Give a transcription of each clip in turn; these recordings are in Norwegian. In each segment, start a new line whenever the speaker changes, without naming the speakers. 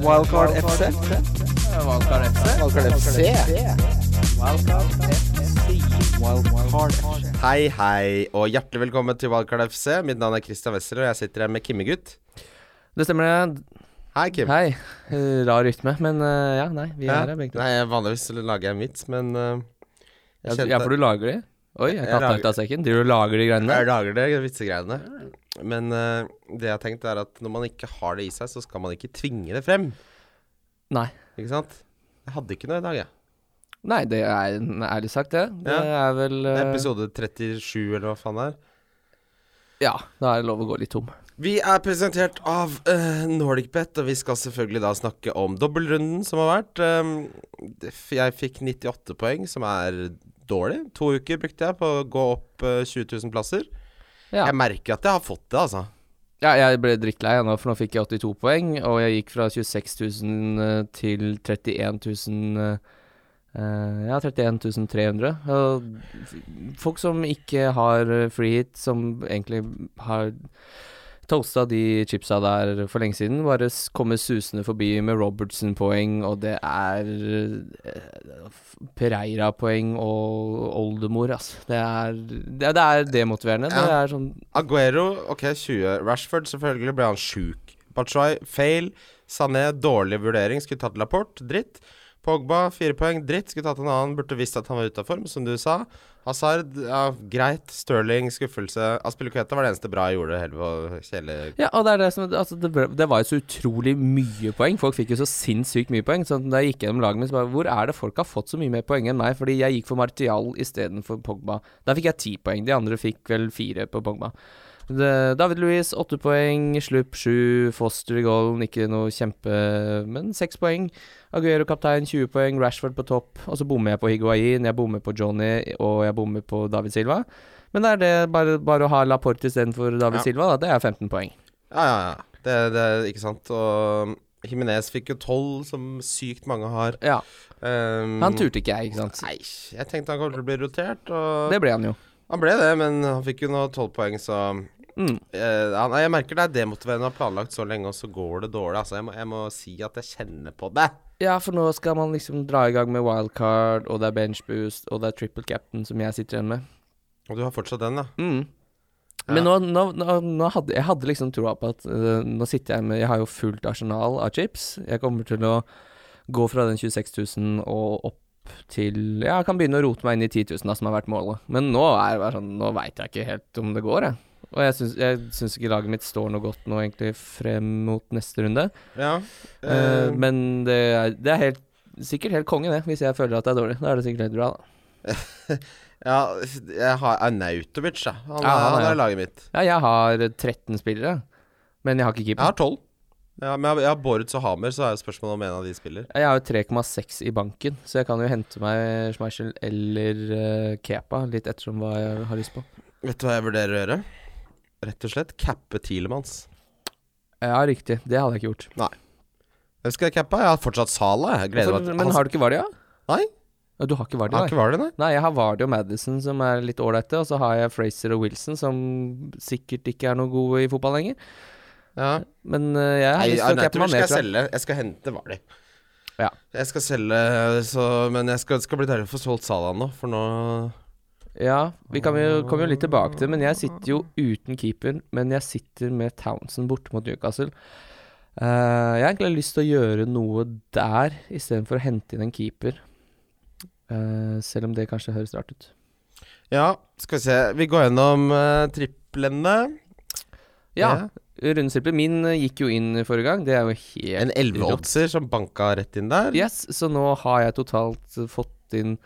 Wildcard FC.
Valkar FC.
Wildcard FC. Wildcard FC.
Hei, hei, og hjertelig velkommen til Wildcard FC. Mitt navn er Christian Wessel, og jeg sitter her med Kimmegutt.
Det stemmer, det.
Hei, Kim.
Hei. Eh, Rar rytme, men eh, ja, nei, vi
Ja.
er her begge to.
Nei, jeg- vanligvis lager jeg en vits, men eh, jeg
Ja,
kjente-
for du lager de? Oi, jeg
Jeg
katta
lager-
ut av sekken. Driver du og lager de greiene
jeg
der?
lager det, vitsegreiene. Men eh, det jeg har tenkt, er at når man ikke har det i seg, så skal man ikke tvinge det frem.
Nei.
Ikke sant? Jeg hadde ikke noe i dag, jeg.
Nei, det er en ærlig sagt, det. Det
Ja.
er vel
Det er
eh,
episode 37, eller hva faen det er.
eh, Ja, da er det lov å gå litt tom.
Vi er presentert av eh, NordicBet, og vi skal selvfølgelig da snakke om dobbeltrunden som har vært. Um, det f- jeg fikk 98 poeng, som er dårlig. To uker brukte jeg på å gå opp eh, 20 000 plasser.
Ja.
Jeg merker at jeg har fått det, altså.
Ja, jeg ble drittlei jeg nå, for nå fikk jeg 82 poeng, og jeg gikk fra 26 000 til 31 000 eh, Ja, 31 300. Og f- folk som ikke har eh, free hit, som egentlig har toasta de chipsa der for lenge siden, bare s- kommer susende forbi med Robertson-poeng, og det er eh, f- Pereira-poeng og oldemor, altså. Det er, det, det er demotiverende. Det
Ja.
er sånn
Aguero, ok, 20. Rashford, selvfølgelig ble han sjuk. Bachoy, fail. Sané, dårlig vurdering. Skulle tatt Laporte, dritt. Pogba, fire poeng, dritt. Skulle tatt en annen, burde visst at han var ute av form, som du sa. Hazard, ja, greit. Sterling, skuffelse. Aspilicueta var det eneste bra jeg gjorde. Helve og kjele...
Ja, og det er det som altså, det, ble- det var jo så utrolig mye poeng. Folk fikk jo så sinnssykt mye poeng. Sånn, da jeg gikk gjennom laget mitt, så bare Hvor er det folk har fått så mye mer poeng enn meg? Fordi jeg gikk for Martial istedenfor Pogba. Der fikk jeg ti poeng. De andre fikk vel fire på Pogba. Det, David Louis åtte poeng, Slupp sju, Foster i goalen, ikke noe kjempe, men seks poeng. Aguero kaptein 20 poeng, Rashford på topp. Og så bommer jeg på Higuain, jeg bommer på Johnny, og jeg bommer på David Silva. Men det er det bare, bare å ha Laporte istedenfor David
Ja.
Silva, da. Det er 15 poeng.
Ja, ja, ja. Det, det, ikke sant. Og Jimenez fikk jo tolv, som sykt mange har.
Ja,
Um,
Han turte ikke jeg, ikke sant.
Nei, jeg tenkte han kom til å bli rotert, og
Det ble han jo.
Han ble det, men han fikk jo nå tolv poeng, så
Mm.
Eh, ja, nei, jeg merker det er demotiverende å ha planlagt så lenge, og så går det dårlig. Altså, jeg må, jeg må si at jeg kjenner på det.
Ja, for nå skal man liksom dra i gang med wildcard, og det er bench boost, og det er triple captain som jeg sitter igjen med.
Og du har fortsatt den, da.
Mm.
Ja.
Men nå, nå, nå, nå hadde jeg hadde liksom troa på at øh, Nå sitter jeg med Jeg har jo fullt arsenal av chips. Jeg kommer til å gå fra den 26 000 og opp til Ja, jeg kan begynne å rote meg inn i 10 000, da, som har vært målet. Men nå er det bare sånn Nå veit jeg ikke helt om det går, jeg. Og jeg syns, jeg syns ikke laget mitt står noe godt nå, egentlig, frem mot neste runde.
Ja.
Eh,
eh,
men det er, det er helt, sikkert helt konge, det, hvis jeg føler at det er dårlig. Da er det sikkert helt bra, da.
ja jeg har eh, Arnautovic, da. Han,
Ja, han
er, han
er-
er laget mitt.
Ja, jeg har 13 spillere, men jeg har ikke
Jeg
keeper.
har tolv. Ja, men jeg, jeg har Boruts og Hamer, så er det spørsmålet om en av de spiller.
Jeg har jo 3,6 i banken, så jeg kan jo hente meg Schmeichel eller eh, Kepa, litt ettersom hva jeg har lyst på.
Vet du hva jeg vurderer å gjøre? Rett og slett cappe Tielemanns.
Ja, riktig. Det hadde jeg ikke gjort.
Jeg skal jeg cappe? Jeg har fortsatt Sala. Jeg gleder meg til
Hvorfor- Altså, men
han-
har du ikke Vardi, ja?
Nei,
Ja, Du har ikke Vardi,
han har
nei?
ikke Vardy, nei.
Nei, jeg har Vardi og Madison, som er litt ålreite, og så har jeg Fraser og Wilson, som sikkert ikke er noe gode i fotball lenger.
Ja.
Men eh, jeg har
Nei,
lyst til å cappe
Arnautovic skal
meg ned,
jeg
tror jeg.
selge. Jeg skal hente Vardy.
Ja.
Jeg skal selge, så, men jeg skal, skal bli deilig å få solgt Salah nå, for nå
Ja, vi kan jo, kommer jo litt tilbake til det, men jeg sitter jo uten keeper, men jeg sitter med Townsend borte mot Newcastle. Eh, jeg har egentlig lyst til å gjøre noe der, istedenfor å hente inn en keeper. Eh, selv om det kanskje høres rart ut.
Ja, skal vi se. Vi går gjennom eh, triplene.
Ja, rundestrippel min eh, gikk jo inn forrige gang, det er jo
Ja. En
helt rått.
elleveoddser som banka rett inn der.
Yes, så nå har jeg totalt eh, fått inn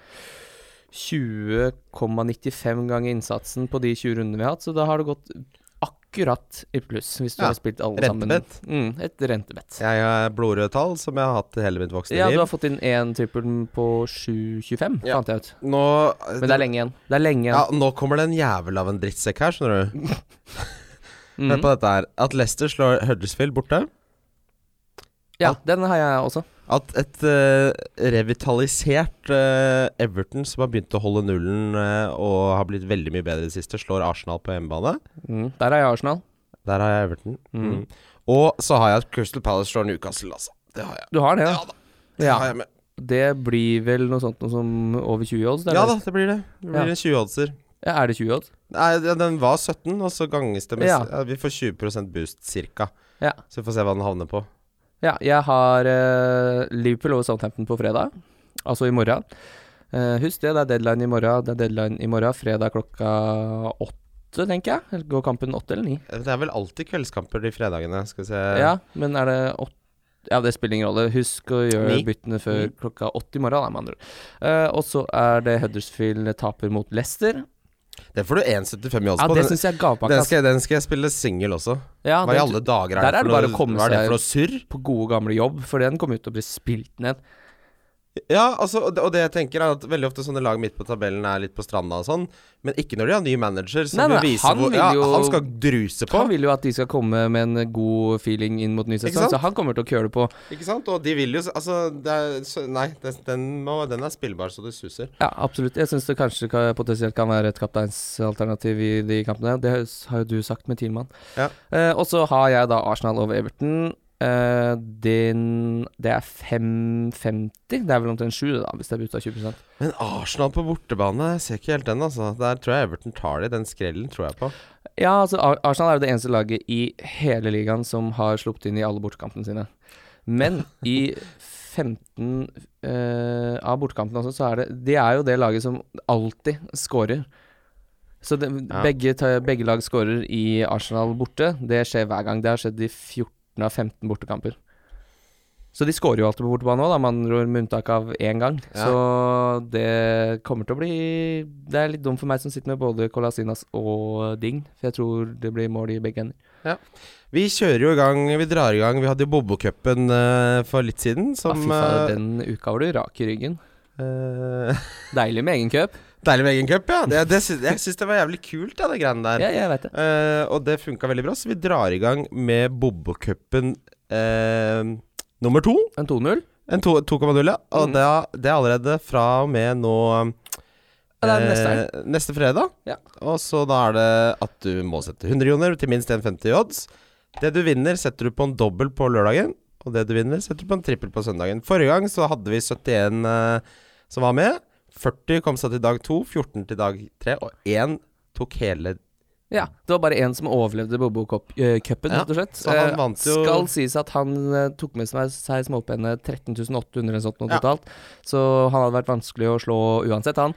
20,95 ganger innsatsen på de 20 rundene vi har hatt, så da har det gått akkurat i pluss, hvis du
Ja,
har spilt alle
rentebett.
sammen. Mm, et rentebett. Ja.
Jeg har blodrøde tall, som jeg har hatt hele mitt voksne
du
liv.
har fått inn én trippel på 7,25,
Ja.
fant jeg ut.
Nå,
Men det er lenge igjen. Det er lenge Mhm.
ja,
igjen.
nå kommer det en jævel av en drittsekk her, skjønner du.
Mm.
Hør på dette her. At Leicester slår Huddersfield borte.
Ja, den har jeg også.
At et eh, revitalisert eh, Everton, som har begynt å holde nullen eh, og har blitt veldig mye bedre i det siste, slår Arsenal på hjemmebane.
Mm. Der har jeg Arsenal.
Mm. Der har jeg Everton. Mm. Og så har jeg at Crystal Palace slår Newcastle, altså. Det har jeg.
Du har det, ja?
Ja da. Det
Ja.
har jeg med.
Det blir vel noe sånt noe som over 20 odds?
Ja
eller?
da, det blir det. Det blir
Ja.
en 20-oddser.
Ja, er det 20 odds?
Nei, den- den var 17, og så ganges det med
Ja.
ja, Vi får 20 boost, cirka.
Ja.
Så vi får se hva den havner på.
Ja, jeg har eh, Liverpool over Southampton på fredag, altså i morgen. Eh, husk det, det er deadline i morgen. Det er deadline i morgen, fredag klokka åtte, tenker jeg. Eller Går kampen åtte eller ni?
Eh, Det er vel alltid kveldskamper de fredagene, skal vi se.
Ja, men er det åtte Ja, det spiller ingen rolle. Husk å gjøre
Ni.
byttene før
Ni.
klokka åtte i morgen, da, med andre ord. Eh, og så er det Huddersfield taper mot Leicester.
Den får du 1,75 i odds
Ja,
på.
det
Den,
syns jeg er gavepakka.
den,
ass.
skal, den skal jeg spille singel også.
Ja,
Hva i
den-
alle dager er
der
det
er
for
det
noe,
bare å komme
hva er det
seg-
for noe surr?
på gode gamle jobb, for den kommer ut til å bli spilt ned.
Ja, altså, og det, og det jeg tenker er at veldig ofte sånne lag midt på tabellen er litt på stranda og sånn, men ikke når de har ny manager som
Nei, nei,
vil vise
han
hvor
vil
ja,
jo-
Han skal druse på,
Han vil jo at de skal komme med en god feeling inn mot ny sesong,
sant?
så han kommer til å køle på.
ikke sant? Og de vil jo s- Altså, det er, så, nei, det, den, må, den er spillbar så det suser.
Ja, absolutt. Jeg syns det kanskje ka- potensielt kan være et kapteinsalternativ i de kampene. Det høres- har jo du sagt med Tielmann.
Ja.
Eh, og så har jeg da Arsenal over Everton. Eh, den Det er 5,50. Det er vel omtrent 7, da, hvis det er bytta 20
Men Arsenal på bortebane, jeg ser ikke helt den, altså. Der tror jeg Everton tar det. Den skrellen tror jeg på.
Ja, altså Ar- Arsenal er jo det eneste laget i hele ligaen som har sluppet inn i alle bortekampene sine. Men i 15 eh, av bortekampene også, så er det De er jo det laget som alltid scorer. Så det,
Ja.
begge, ta- begge lag scorer i Arsenal borte. Det skjer hver gang. Det har skjedd i 14 av 15 bortekamper. Så de scorer jo alltid på bortebane òg, med andre ord, med unntak av én gang.
Ja.
Så det kommer til å bli Det er litt dumt for meg som sitter med både Colasinas og Ding, for jeg tror det blir mål i begge ender.
Vi kjører jo i gang, vi drar i gang. Vi hadde jo Bobokupen uh, for litt siden,
Ja,
som
Ah, fy faen, den uka var du rak i ryggen.
eh, eh,
Deilig med egen cup.
Deilig med egen cup, ja. Det, det, sy- jeg syns det var jævlig kult, ja, det greiene der.
Ja, jeg vet det.
Eh, og det funka veldig bra, så vi drar i gang med Bobokupen eh, nummer to.
En 2-0.
En to- 2,0, ja. Og
Mm.
det, er, det er allerede fra og med nå
Ja, det er neste helg.
eh, neste fredag.
Ja.
Og så da er det at du må sette 100 kroner til minst 1,50 i odds. Det du vinner, setter du på en dobbel på lørdagen. Og det du vinner, setter du på en trippel på søndagen. Forrige gang så hadde vi 71 eh, som var med. 40 kom seg til dag 2, 14 til dag 3, og 1 tok hele
Ja, det var bare én som overlevde Bobo-cupen,
Ja,
rett og slett.
så han
Eh,
vant jo-
Skal sies at han eh, tok med seg, seg småpenne 13.800 eller sånt noe
Ja.
totalt, så han hadde vært vanskelig å slå uansett, han.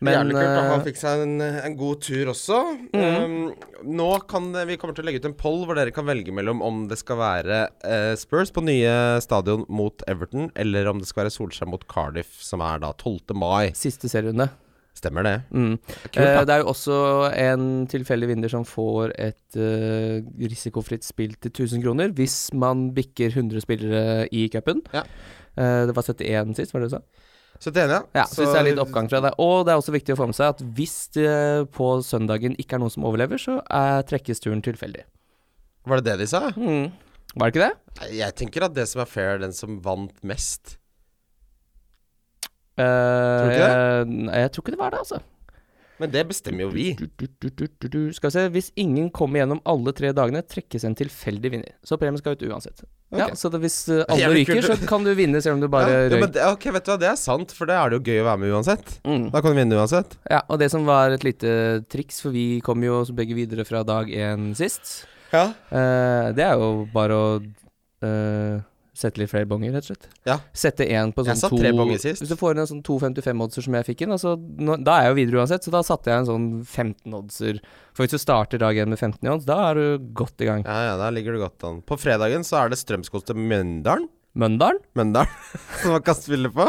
Men
Jævlig kult. Og han
eh, Mhm.
fikk seg en, en god tur også. Um, nå kan det- Vi kommer til å legge ut en poll hvor dere kan velge mellom om det skal være eh, Spurs på nye stadion mot Everton, eller om det skal være Solskjær mot Cardiff, som er da 12. mai.
siste serierunde.
Stemmer det?
Mm. Eh,
Kult, da.
det er jo også en tilfeldig vinner som får et eh, risikofritt spill til 1000 kroner, hvis man bikker 100 spillere i cupen.
Ja.
Eh, det var 71 sist, var det du sa?
Så det ene,
Eh, Ja, så, det er litt oppgang fra det. Og det er også viktig å få med seg at hvis det på søndagen ikke er noen som overlever, så er, trekkes turen tilfeldig.
Var det det de sa?
Var det ikke det?
Nei, Jeg tenker at det som er fair, er den som vant mest.
Eh,
du ikke
jeg, Eh, nei, jeg tror ikke det var det, altså.
Men det bestemmer jo vi.
Du, du, du, du, du, du. Skal vi se. Hvis ingen kommer gjennom alle tre dagene, trekkes en tilfeldig vinner. Så premien skal ut uansett. Ja,
Ok.
så det, hvis eh, alle
Jævlig
ryker, så
kult.
kan du vinne selv om du bare
ja, jo, men
røyk.
det, ok, vet du hva, det er sant, for da er det jo gøy å være med uansett.
Mm.
Da kan du vinne uansett.
Ja, og det som var et lite triks, for vi kom jo begge videre fra dag én sist,
Ja
Eh, det er jo bare å eh, sette litt flere bonger, rett og slett.
Ja.
Sette én på
Jeg
sånn
satt
to
tre bonger sist.
Hvis du får inn en sånn 2,55-oddser som jeg fikk inn, altså, nå, da er jeg jo videre uansett, så da satte jeg en sånn 15-oddser. For hvis du starter dag én med 15 i odds, da er du godt i gang.
Ja, ja, der ligger du godt an. På fredagen så er det Strømskog til Mjøndalen.
Møndalen?
Mjøndalen, som man kan spille på.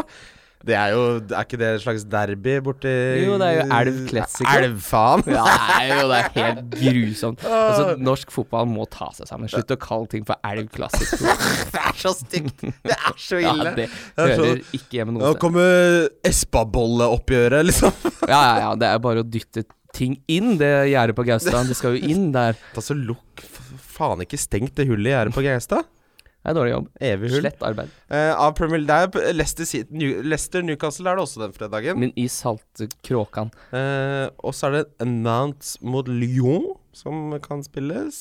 Det er jo Er ikke det et slags derby borti
Jo, det er jo Elv Classic, da.
Elvfaen!
Ja, det er jo det er helt grusomt.
Ah.
Altså, norsk fotball må ta seg sammen. Slutt å kalle ting for elv klassisk.
Det er så stygt! Det er så
Ja,
ille!
det
er så-
hører ikke hjemme
Nå
noe sted.
kommer Espabolle-oppgjøret, liksom.
Ja, ja, ja. Det er bare å dytte ting inn, det gjerdet på Gaustad. Det skal jo inn der.
Da så Altså, lukk f- faen ikke stengt det hullet i gjerdet på Gaustad.
Det er dårlig jobb.
Evig hull.
Slett arbeid.
Eh, av Premier League, det er Leicester, City- New- Leicester Newcastle er det også den fredagen.
Min i saltkråkan.
Eh, og så er det Nantes mot Lyon som kan spilles.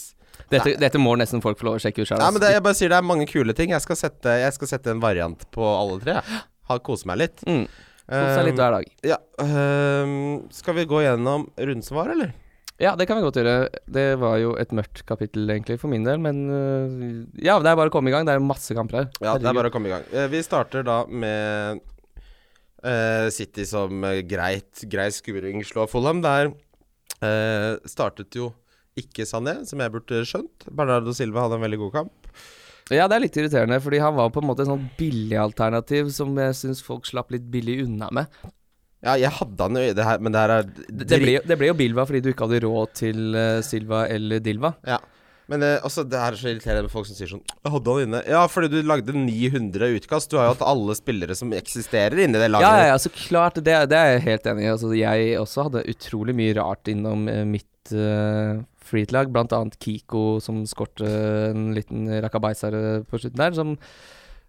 Dette, dette må nesten folk få lov å sjekke ut sjøl.
Nei, men det, jeg bare sier det er mange kule ting. Jeg skal sette, jeg skal sette en variant på alle tre. jeg. Ha, kose meg litt.
Mm. Kos deg litt hver dag.
Ja, ehm, skal vi gå gjennom runden som var, eller?
Ja, det kan vi godt gjøre. Det var jo et mørkt kapittel, egentlig, for min del, men øh, Ja, det er bare å komme i gang. Det er jo masse kamper her.
Ja, det er bare å komme i gang. Eh, vi starter da med eh, City som eh, greit, grei skuring slår Fulham. Der eh, startet jo ikke Sané, som jeg burde skjønt. Bernardo Silva hadde en veldig god kamp.
Ja, det er litt irriterende, fordi han var på en måte et sånt billigalternativ som jeg syns folk slapp litt billig unna med.
Ja, jeg hadde han jo i det her, men det her er
Det, det, ble, jo- det ble jo Bilva fordi du ikke hadde råd til øh, Silva eller Dilva.
Ja. Men eh, også, det her er så irriterende med folk som sier sånn Jeg hadde han inne. Ja, fordi du lagde 900 utkast. Du har jo hatt alle spillere som eksisterer inni det
Ja,
laget.
ja, ja, så klart. Det, det er jeg helt enig i. Altså, jeg også hadde utrolig mye rart innom eh, mitt uh, freetlag, blant annet Kiko som skårte en liten rakabaiser på slutten der, som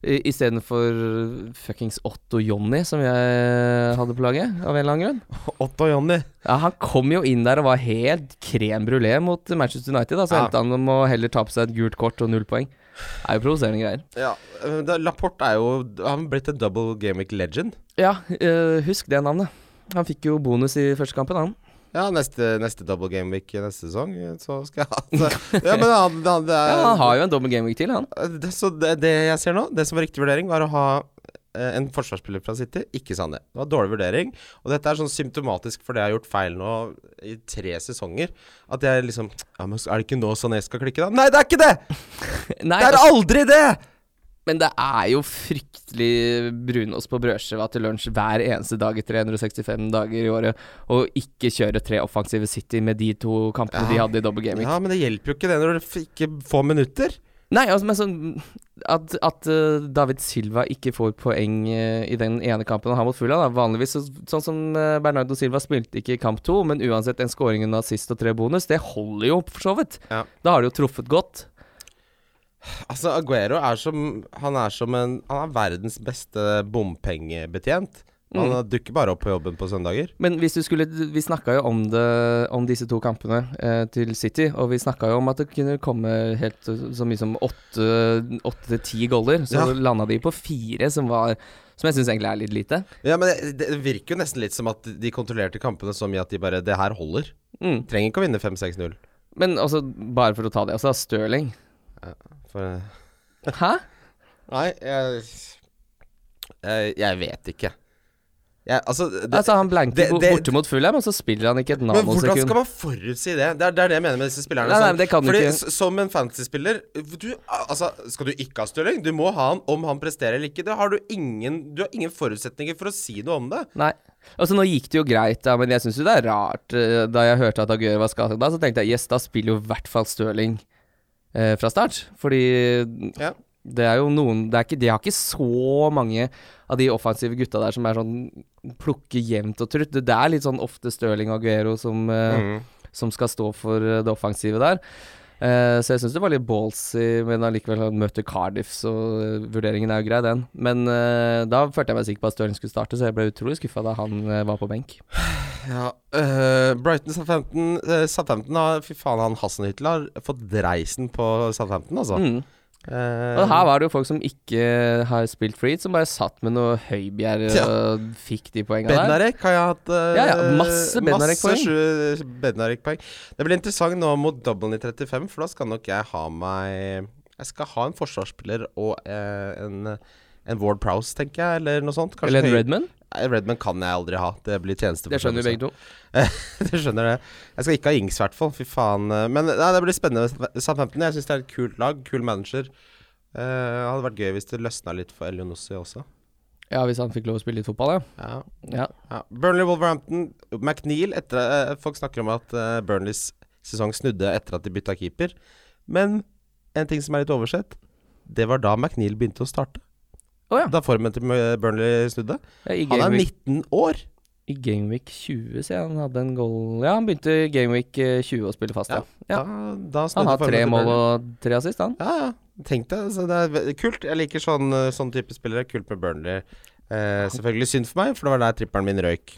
i- istedenfor fuckings Otto Jonny, som jeg hadde på laget, av en eller annen grunn.
Otto og Jonny.
Ja, han kom jo inn der og var helt krem brulé mot Manchester United, da, så
Ja.
endte han om å heller ta på seg et gult kort og null poeng. Det er jo provoserende greier.
Ja. eh, det- Laporte er jo Han er blitt en double gamic legend.
Ja, eh, husk det navnet. Han fikk jo bonus i første kampen, han.
Ja, neste, neste double game week neste sesong, eh, så skal jeg ha det. Ja, men han, han, det er,
Ja, han har jo en dobbel gameweek til, han.
Eh, det, Så det, det jeg ser nå, det som var riktig vurdering, var å ha eh, en forsvarsspiller fra City, ikke Sané. Det var dårlig vurdering, og dette er sånn symptomatisk for det jeg har gjort feil nå i tre sesonger. At jeg liksom Ja, men er det ikke nå Sané skal klikke, da? Nei, det er ikke det!
Nei,
Det er
altså,
aldri det!
men det er jo fryktelig brunost på brødskiva til lunsj hver eneste dag i 365 dager i året, og ikke kjøre tre offensive City med de to kampene de
Ja.
hadde i double gaming.
Ja, men det hjelper jo ikke det når du f- ikke får minutter.
Nei, altså, men sånn at, at eh, David Silva ikke får poeng eh, i den ene kampen han har mot Fulham, da. Vanligvis så, sånn som eh, Bernardo Silva spilte ikke i kamp to, men uansett en scoring, en assist og tre bonus, det holder jo for så vidt.
Ja.
Da har det jo truffet godt.
Altså, Aguero er som Han er som en Han er verdens beste bompengebetjent. Han dukker bare opp på jobben på søndager.
Men hvis du skulle Vi snakka jo om det Om disse to kampene eh, til City, og vi snakka jo om at det kunne komme helt eh, så så mye som åtte åtte til ti goller. Så
Ja.
landa de på fire, som var Som jeg syns egentlig er litt lite.
Ja, men det, det virker jo nesten litt som at de kontrollerte kampene så mye at de bare Det her holder.
Mm.
Trenger ikke å vinne 5-6-0.
Men altså, bare for å ta det også, da, Stirling.
For- eh,
Hæ?
Nei, jeg Jeg, eh, jeg vet ikke. Jeg, altså, det,
altså, han blanker
det-
bo-
det-
borte mot Fulham, og så spiller han ikke et
Men hvordan skal
nanosekund.
man forutsi det? Det er, det er det jeg mener med disse spillerne.
Nei, nei,
sånn.
men det kan du
Fordi
ikke.
s- Som en fantasy-spiller du- altså, Skal du ikke ha Stirling? Du må ha han om han presterer eller ikke. Det har du, ingen, du har ingen forutsetninger for å si noe om det.
Nei. Altså, nå gikk det jo greit, da, men jeg syns jo det er rart. eh, Da jeg hørte at Aguero var skadet, da, så tenkte jeg yes, da spiller jo i hvert fall Stirling eh, fra start. Fordi
Ja.
det er jo noen det er ikke, De har ikke så mange av de offensive gutta der som er sånn plukke jevnt og trutt. Det det er litt sånn ofte Stirling og Aguero som, eh, som skal stå for eh, det offensive der. Eh, så jeg syns det var litt ballsy, men allikevel han møter Cardiff, så eh, vurderingen er jo grei, den. Men eh, da følte jeg meg sikker på at Stirling skulle starte, så jeg ble utrolig skuffa da han eh, var på benk.
Ja, øh, Brighton Southampton øh, Southampton har Fy faen, han Hassenhyttel har fått dreisen på Southampton, altså.
Mm.
Eh,
Og her var det jo folk som ikke eh, har spilt free, som bare satt med noe høybjerg og fikk de poengene der.
Bednarek har jeg hatt øh,
Ja, ja, masse Bednarek-poeng.
masse sju- Bednarek-poeng. Det blir interessant nå mot doublen i 35, for da skal nok jeg ha meg Jeg skal ha en forsvarsspiller og eh, en en Ward Prowse, tenker jeg, eller noe sånt. Kanskje
Eller en
høy-
Redman.
Nei, Redman kan jeg aldri ha. Det blir tjeneste
Det skjønner vi begge to.
Du skjønner det. Jeg skal ikke ha Ings, i hvert fall. Fy faen. Men nei, det blir spennende. Southampton, jeg syns det er et kult lag. Kul manager. Eh, hadde vært gøy hvis det løsna litt for Elionossi også.
Ja, hvis han fikk lov å spille litt fotball, ja.
Ja.
ja.
ja. Burnley Wolverhampton. McNeil etter, eh, Folk snakker om at eh, Burnleys sesong snudde etter at de bytta keeper. Men en ting som er litt oversett, det var da McNeil begynte å starte.
Å ja.
Da formen til eh, Burnley snudde.
ja i,
Han er
Gameweek, 19.
19 år.
I Gameweek 20, sier jeg, han hadde en goal Ja, han begynte i Gameweek eh, 20 å spille fast, ja. ja.
Da, da snudde
Han har
formen
tre
til Burnley.
mål og tre assist, han.
Ja, ja. Tenk deg. Så det er ve- kult. Jeg liker sånn, eh, sånn type spillere. Kult med Burnley. Eh, selvfølgelig synd for meg, for det var der trippelen min røyk.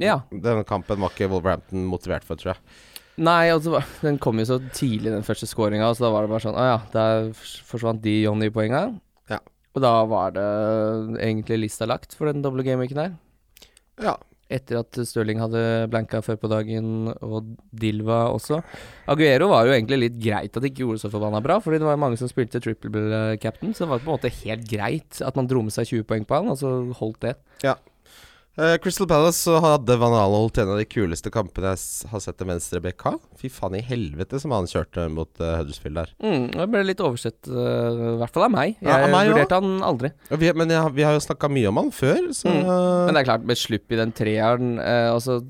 Ja.
Denne kampen var ikke Wolverhampton motivert for, tror jeg.
Nei, altså, hva- den kom jo så tidlig, den første scoringa, så da var det bare sånn Å ja, der fors- forsvant de Johnny-poenga.
Ja.
Og da var det egentlig lista lagt for den doble gameweeken her.
Ja.
Etter at Stirling hadde blanka før på dagen, og Dilva også. Aguero var jo egentlig litt greit at de ikke gjorde så forbanna bra, fordi det var mange som spilte triple eh, captain, så det var på en måte helt greit at man dro med seg 20 poeng på han, og så holdt det.
Eh, Crystal Palace så hadde Van Alholt til en av de kuleste kampene jeg s- har sett en venstrebekk ha. Fy faen i helvete som han kjørte mot eh, Huddersfield der.
Mm, og jeg ble litt oversett, eh, i hvert fall av meg. Jeg
Ja, av meg
vurderte han aldri.
Og vi, men jeg, har- vi har jo snakka mye om han før, så
Mm. Men det er klart, med slupp i den treeren, eh, altså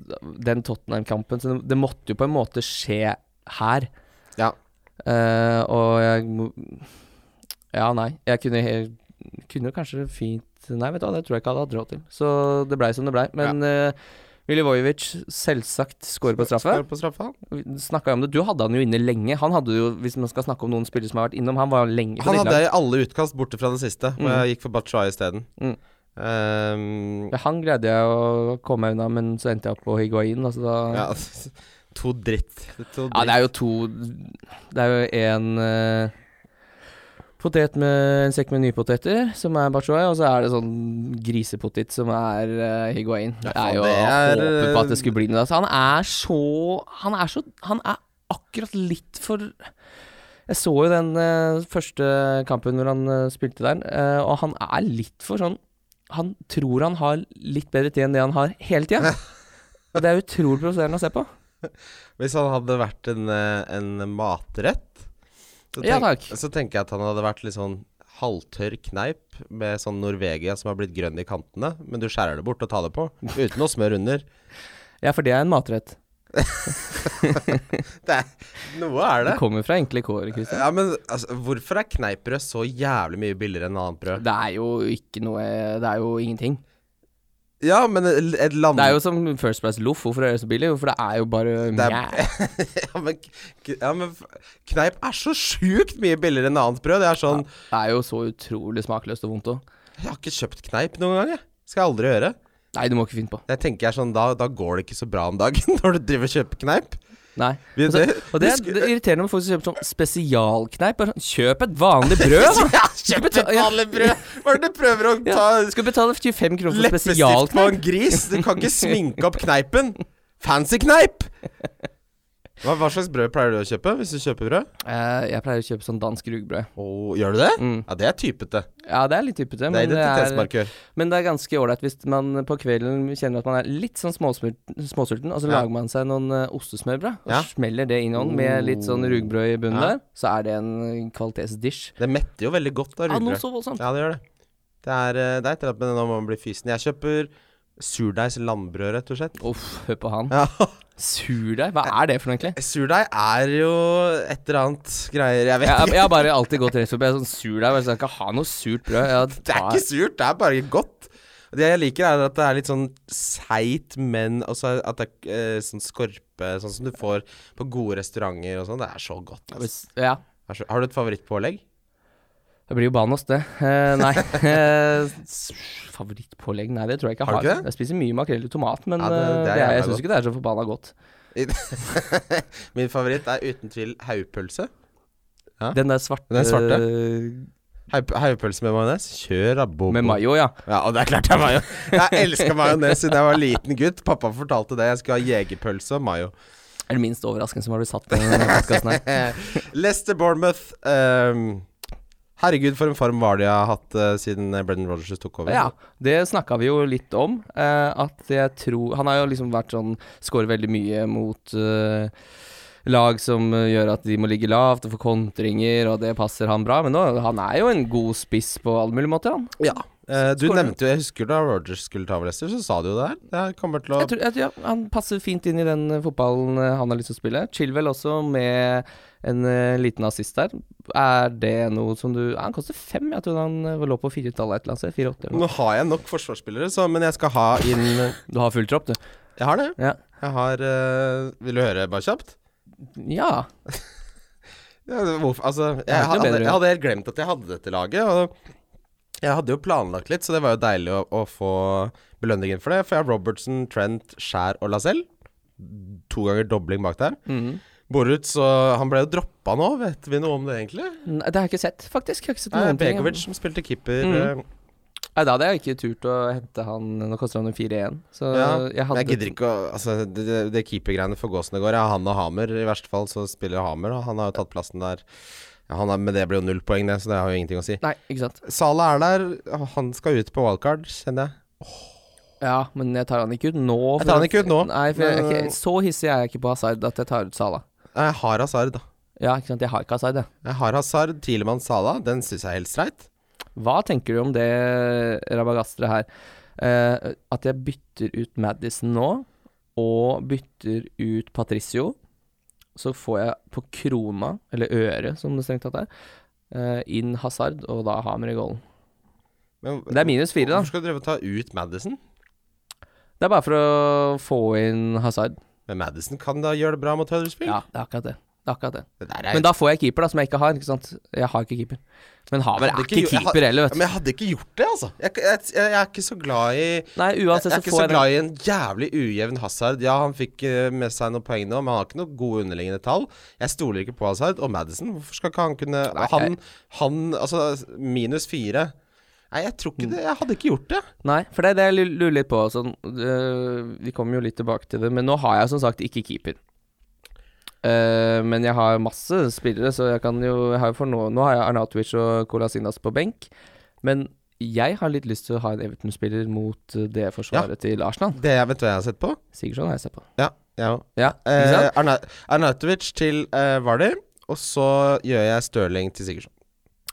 den Tottenham-kampen Så det, det måtte jo på en måte skje her.
Ja.
Eh, og jeg må- Ja, nei. Jeg kunne, he- kunne kanskje fint Nei, vet du hva, det tror jeg ikke jeg hadde hatt råd til. Så det blei som det blei. Men ja. Milivojevic, selvsagt, scorer på straffe.
Skår på straffa.
Snakka om det. Du hadde han jo inne lenge. Han hadde jo, hvis man skal snakke om noen spillere som har vært innom, han var lenge på
Han
ditt lag.
hadde jeg i alle utkast, borte fra det siste, hvor
Mm.
jeg gikk for Batshuayi isteden.
Mm.
Ehm,
Ja, Han greide jeg å komme meg unna, men så endte jeg opp på Higuain. Altså da, ja.
ja, to dritt. To dritt.
det er jo to Det er jo en eh, potet med en sekk med nypoteter, som er bachoy, og så er det sånn grisepotet som er eh, higuain.
Ja,
det er
faen,
jo
det er,
håpet på
eh,
at det skulle bli noe. Altså, han er så Han er så Han er akkurat litt for jeg så jo den eh, første kampen hvor han eh, spilte der, eh, og han er litt for sånn Han tror han har litt bedre tid enn det han har hele tida. Og det er utrolig provoserende å se på.
Hvis han hadde vært en, eh, en matrett, så,
Ja,
tenk-
takk.
så tenker jeg at han hadde vært litt sånn halvtørr kneip med sånn Norvegia som har blitt grønn i kantene, men du skjærer det bort og tar det på, uten å smøre under.
Ja, for det er en matrett.
Det er, noe er det.
Det kommer fra enkle kår, Christian.
Ja, men altså, hvorfor er kneippbrød så jævlig mye billigere enn annet brød?
Det er jo ikke noe Det er jo ingenting.
Ja, men et et land...
Det er jo som First Price Loff. Hvorfor er det så billig? Jo, For det er jo bare
Det er-
mjæ.
ja, men, k- ja, men f- kneip er så sjukt mye billigere enn annet brød. Det er sånn
Det er jo så utrolig smakløst og vondt òg.
Jeg har ikke kjøpt kneip noen gang, jeg. Skal jeg aldri gjøre.
Nei, du må ikke finne på.
Jeg tenker jeg er sånn, da, da går det ikke så bra om dagen når du driver og kjøper kneip.
Nei.
Vi-
Altså,
det-
og det er
vi
det er irriterende med folk som kjøper sånn spesialkneip. Bare sånn, Kjøp et vanlig brød! da!
Ja, kjøp et
betal- ja.
vanlig brød! Hva er det du prøver å ta
Ja, skal betale 25
sånn
kroner for
leppestift på
spesialkneip.
en gris? Du kan ikke sminke opp kneipen. Fancy kneip! Hva, hva slags brød pleier du å kjøpe hvis du kjøper brød?
Eh, jeg pleier å kjøpe sånn dansk rugbrød.
Å, gjør du det?
Mm.
Ja, det er typete.
Ja, det er litt typete,
Det er
men det er,
identitetsmarkør.
men det er ganske ålreit hvis man på kvelden kjenner at man er litt sånn småsmult- småsulten, og så
Ja.
lager man seg noen eh, ostesmørbrød, og
Ja. Oh.
smeller det inn i ovnen med litt sånn rugbrød i bunnen
Ja.
der, så er det en eh, kvalitetsdish.
Det metter jo veldig godt av
Ja, noe
rugbrød.
så voldsomt.
Ja, det gjør det. Det er, eh, det er et eller annet med det når man blir fysen. Jeg kjøper surdeigs landbrød, rett og slett.
Uff, hør på han.
Ja.
Surdeig, hva er det for noe egentlig?
Surdeig er jo et eller annet greier Jeg vet
Jeg,
ikke.
jeg har bare alltid gått rett forbi jeg er sånn surdeig, bare sånn, jeg skal ikke ha noe surt brød. Jeg
Det er
tar-
ikke surt, det er bare godt. Det jeg liker, er at det er litt sånn seigt, men også at det er eh, sånn skorpe Sånn som du får på gode restauranter og sånn. Det er så godt. Altså.
Ja,
Det er så- Har du et favorittpålegg?
Det blir jo banost, det. Eh, nei. eh, s- favorittpålegg? Nei, det tror jeg ikke jeg
Har
har.
du ikke det?
Jeg spiser mye makrell i tomat, men
Ja, det-
eh,
det er
det er, jeg
jævla
syns ikke det er så forbanna godt.
Min favoritt er uten tvil haugpølse.
Den der svarte,
Den svarte?
eh,
Haug- Haugpølse med majones. Kjør rabbo.
med mayo, ja.
Ja, og det er klart det er mayo. Jeg elska majones siden jeg var liten gutt. Pappa fortalte det. Jeg skulle ha jegerpølse og mayo.
Er det minst overraskende som har blitt satt på denne podkasten her.
Leicester Bournemouth. ehm, herregud, for en form var det jeg har hatt eh, siden eh, Brendan Rogers tok over.
Ja, det snakka vi jo litt om. eh, at jeg tror Han har jo liksom vært sånn Skårer veldig mye mot eh, lag som eh, gjør at de må ligge lavt og få kontringer, og det passer han bra. Men nå, han er jo en god spiss på alle mulige måter, han.
Ja. Eh, du
Skårer.
nevnte jo Jeg husker da Rogers skulle ta over Leicester, så sa du jo det her. Det her kommer til å
Jeg tror, jeg, tror- ja, han passer fint inn i den eh, fotballen eh, han har lyst til å spille. Chilwell også med en eh, liten assist der. Er det noe som du ja, Han koster fem, jeg tror han eh, lå på firetallet et eller annet sted. Fire-åtte eller noe.
Nå har jeg nok forsvarsspillere, så, men jeg skal ha inn
Du har full tropp, du.
Jeg har det.
Ja.
Jeg har eh, Vil du høre bare kjapt?
ja.
Ja, hvorfor, altså, jeg,
er ikke noe
hadde,
bedre.
jeg hadde helt glemt at jeg hadde dette laget. Og jeg hadde jo planlagt litt, så det var jo deilig å, å få belønningen for det. For jeg har Robertson, Trent, Skjær og Lacelle. to ganger dobling bak der.
Mhm.
Boruc så Han ble jo droppa nå, vet vi noe om det egentlig?
Nei, det har jeg ikke sett, faktisk. Jeg har ikke sett
Nei,
noen ting.
Begovic som spilte keeper.
Mm.
eh,
Nei, da hadde jeg ikke turt å hente han Nå koster han jo 4-1. Så
Ja,
jeg
men
hadde
jeg gidder ikke å Altså, det, det- det keepergreiene for gåsene går. Ja, han og Hamer, i verste fall så spiller Hamer, og han har jo tatt plassen der. Ja, han er, men det blir jo null poeng, det, så det har jo ingenting å si.
Nei, ikke sant.
Salah er der, han skal ut på wildcard, kjenner jeg.
Ja, men jeg tar han ikke ut nå.
Jeg
for
tar han
at-
ikke ut nå,
Nei, for jeg, er
men-
ikke- Så hissig er jeg ikke på Hazard at jeg tar ut Salah.
Nei, Jeg har Hazard, da.
Ja, ikke sant. Jeg har ikke Hazard, jeg.
Jeg har Hazard, Tilemann, Salah. Den syns jeg er helt streit.
Hva tenker du om det rabagastre her? Eh, at jeg bytter ut Madison nå, og bytter ut Patricio. Så får jeg på krona, eller øret som det strengt tatt er, eh, inn Hazard, og da Hamer i goalen.
Men
Det er minus fire, da.
Hvorfor skal du drive og ta ut Madison?
Det er bare for å få inn Hazard.
Men Madison kan da gjøre det bra mot Huddersfield?
Ja, det er akkurat det. det, er akkurat det.
Det der er
Men da får jeg keeper, da, som jeg ikke har. ikke sant? Jeg har ikke keeper. Men Haver
Jeg
er
hadde
ikke
ikke gjo- jeg
keeper heller, vet
Men
du.
jeg hadde ikke gjort det, altså. Jeg, jeg, jeg, jeg er ikke så glad i
Nei,
Jeg, jeg
uansett så
er ikke
får
så
jeg den.
glad i en jævlig ujevn Hazard. Ja, han fikk eh, med seg noen poeng nå, men han har ikke noen gode underliggende tall. Jeg stoler ikke på Hazard. Og Madison, hvorfor skal ikke han kunne Han, han altså minus fire Nei, jeg tror ikke
Mm.
det. Jeg hadde ikke gjort det.
Nei, for det er det jeg lu- lurer litt på. Sånn, øh, vi kommer jo litt tilbake til det, men nå har jeg som sagt ikke keeper. Eh, men jeg har masse spillere, så jeg kan jo jeg har jo for nå, nå har jeg Arnatovic og Colasinas på benk. Men jeg har litt lyst til å ha en Everton-spiller mot eh, det forsvaret til Arsenal.
Det jeg vet hva jeg har sett på.
Sigurdsson har jeg sett på.
Ja, jeg òg.
Ja, ikke
Eh,
sant?
Arna- Arnautovic til eh, Vardy, og så gjør jeg Stirling til Sigurdsson.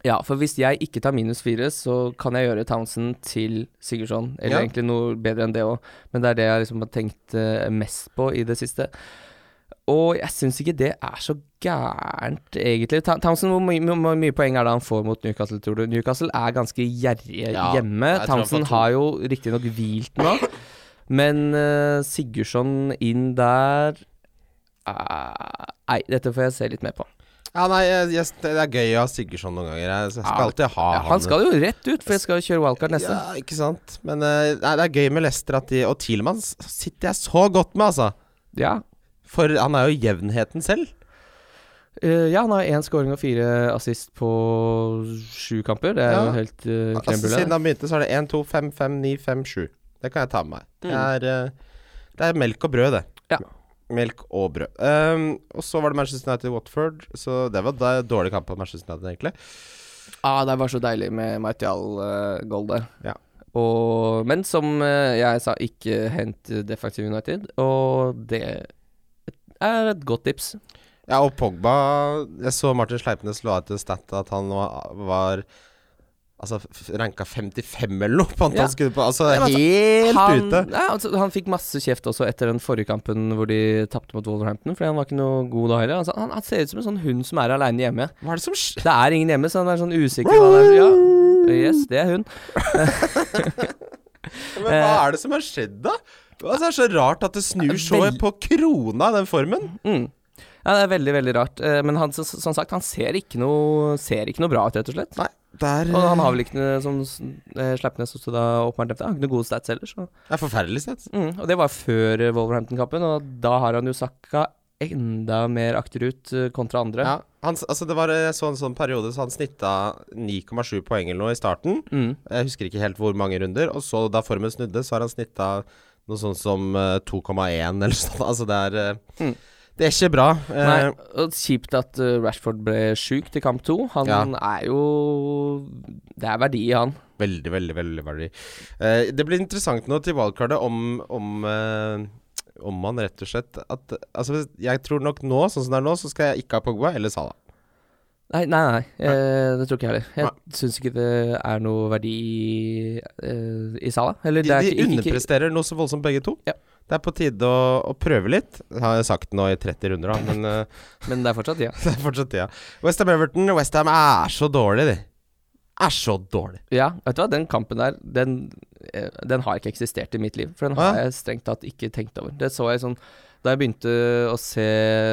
Ja, for hvis jeg ikke tar minus fire, så kan jeg gjøre Townsend til Sigurdsson. Eller
Ja.
egentlig noe bedre enn det òg, men det er det jeg liksom har tenkt eh, mest på i det siste. Og jeg syns ikke det er så gærent, egentlig. Ta- Townsend, hvor mye, hvor mye poeng er det han får mot Newcastle, tror du? Newcastle er ganske gjerrige
Ja,
hjemme.
jeg tror han får
Townsend
to.
har jo riktignok hvilt nå, men eh, Sigurdsson inn der eh, Nei, dette får jeg se litt mer på.
Ja, nei, jeg, jeg, det er gøy å ha Sigurdsson noen ganger. Jeg skal
Ja,
alltid ha
Ja, han skal jo rett ut, for jeg skal jo kjøre wildcard neste.
Ja, ikke sant. Men eh, nei, det er gøy med Lester at de Og Thielmann s- sitter jeg så godt med, altså.
Ja,
For han er jo jevnheten selv.
Eh, ja, han har én scoring og fire assist på sju kamper. Det er
Ja.
jo helt uh,
Altså, siden han begynte, så er det 1, 2, 5, 5, 9, 5, 7. Det kan jeg ta med meg. Det, er, eh, det er melk og brød, det.
Mm. Ja.
Melk og brød. Ehm, og så var det Manchester United-Watford. Så det var da- dårlig kamp av Manchester United, egentlig.
ah, det var så deilig med Martial-gold der.
Ja.
Og, men som eh, jeg sa, ikke hent Defective United, og det er et godt tips.
Ja, og Pogba Jeg så Martin Sleipnes la ut en stat at han var, var Altså f- ranka 55 eller noe på antall
Ja.
skudd på Altså
Ja, men altså,
helt
han,
ute.
Ja, altså, han fikk masse kjeft også etter den forrige kampen hvor de tapte mot Wolverhampton, fordi han var ikke noe god da heller. Altså, han, han ser ut som en sånn hund som er aleine hjemme.
Hva er det som skjer?
Det er ingen hjemme, så han er sånn usikker. Hva det er. Ja. Yes, det er hun.
Men hva er det som har skjedd, da? Altså, det er så rart at Eh, det snur så
Vel-
på krona, den formen.
Mm. Ja, det er veldig, veldig rart. Eh, Men han, så- så- som sagt, han ser ikke noe, ser ikke noe bra ut, rett og slett.
Nei, det er,
Og han har vel ikke noe, som eh, Sleipnes også da åpenbart nevnte, han har ikke noen gode stats heller, så
eh, det er forferdelig sett.
mm. Og det var før eh, Wolverhampton-kampen, og da har han jo sakka enda mer akterut eh, kontra andre.
Ja, han, s- altså det var eh, sånn, sånn periode så han snitta 9,7 poeng eller noe i starten.
Mm.
Jeg husker ikke helt hvor mange runder. Og så da formen snudde, så har han snitta noe sånt som eh, 2,1 eller sånn. Altså det er eh,
Mm.
Det er ikke bra. Eh,
Nei, og kjipt at eh, Rashford ble sjuk til kamp to. Han
Ja.
er jo Det er verdi i han.
Veldig, veldig, veldig verdi. Eh, det blir interessant nå til valgkartet om, om eh, om man rett og slett at, altså hvis- Jeg tror nok nå, sånn som det er nå, så skal jeg ikke ha Pogba eller Salah.
Nei, nei, nei. Eh, det tror ikke jeg heller. Jeg syns ikke det er noe verdi eh, i Sala. Eller
De,
det er
de
ikke, ikke, ikke
underpresterer noe så voldsomt, begge to.
Ja.
Det er på tide å, å prøve litt. Det har jeg sagt nå i 30 runder, da, men eh,
Men det er fortsatt ja.
det er fortsatt tida. Westham Everton Westham er så dårlig, de. Er så dårlig.
Ja, vet du hva, den kampen der, den, eh, den har ikke eksistert i mitt liv. For den
Å,
har
ja.
jeg strengt tatt ikke tenkt over. Det så jeg sånn Da jeg begynte å se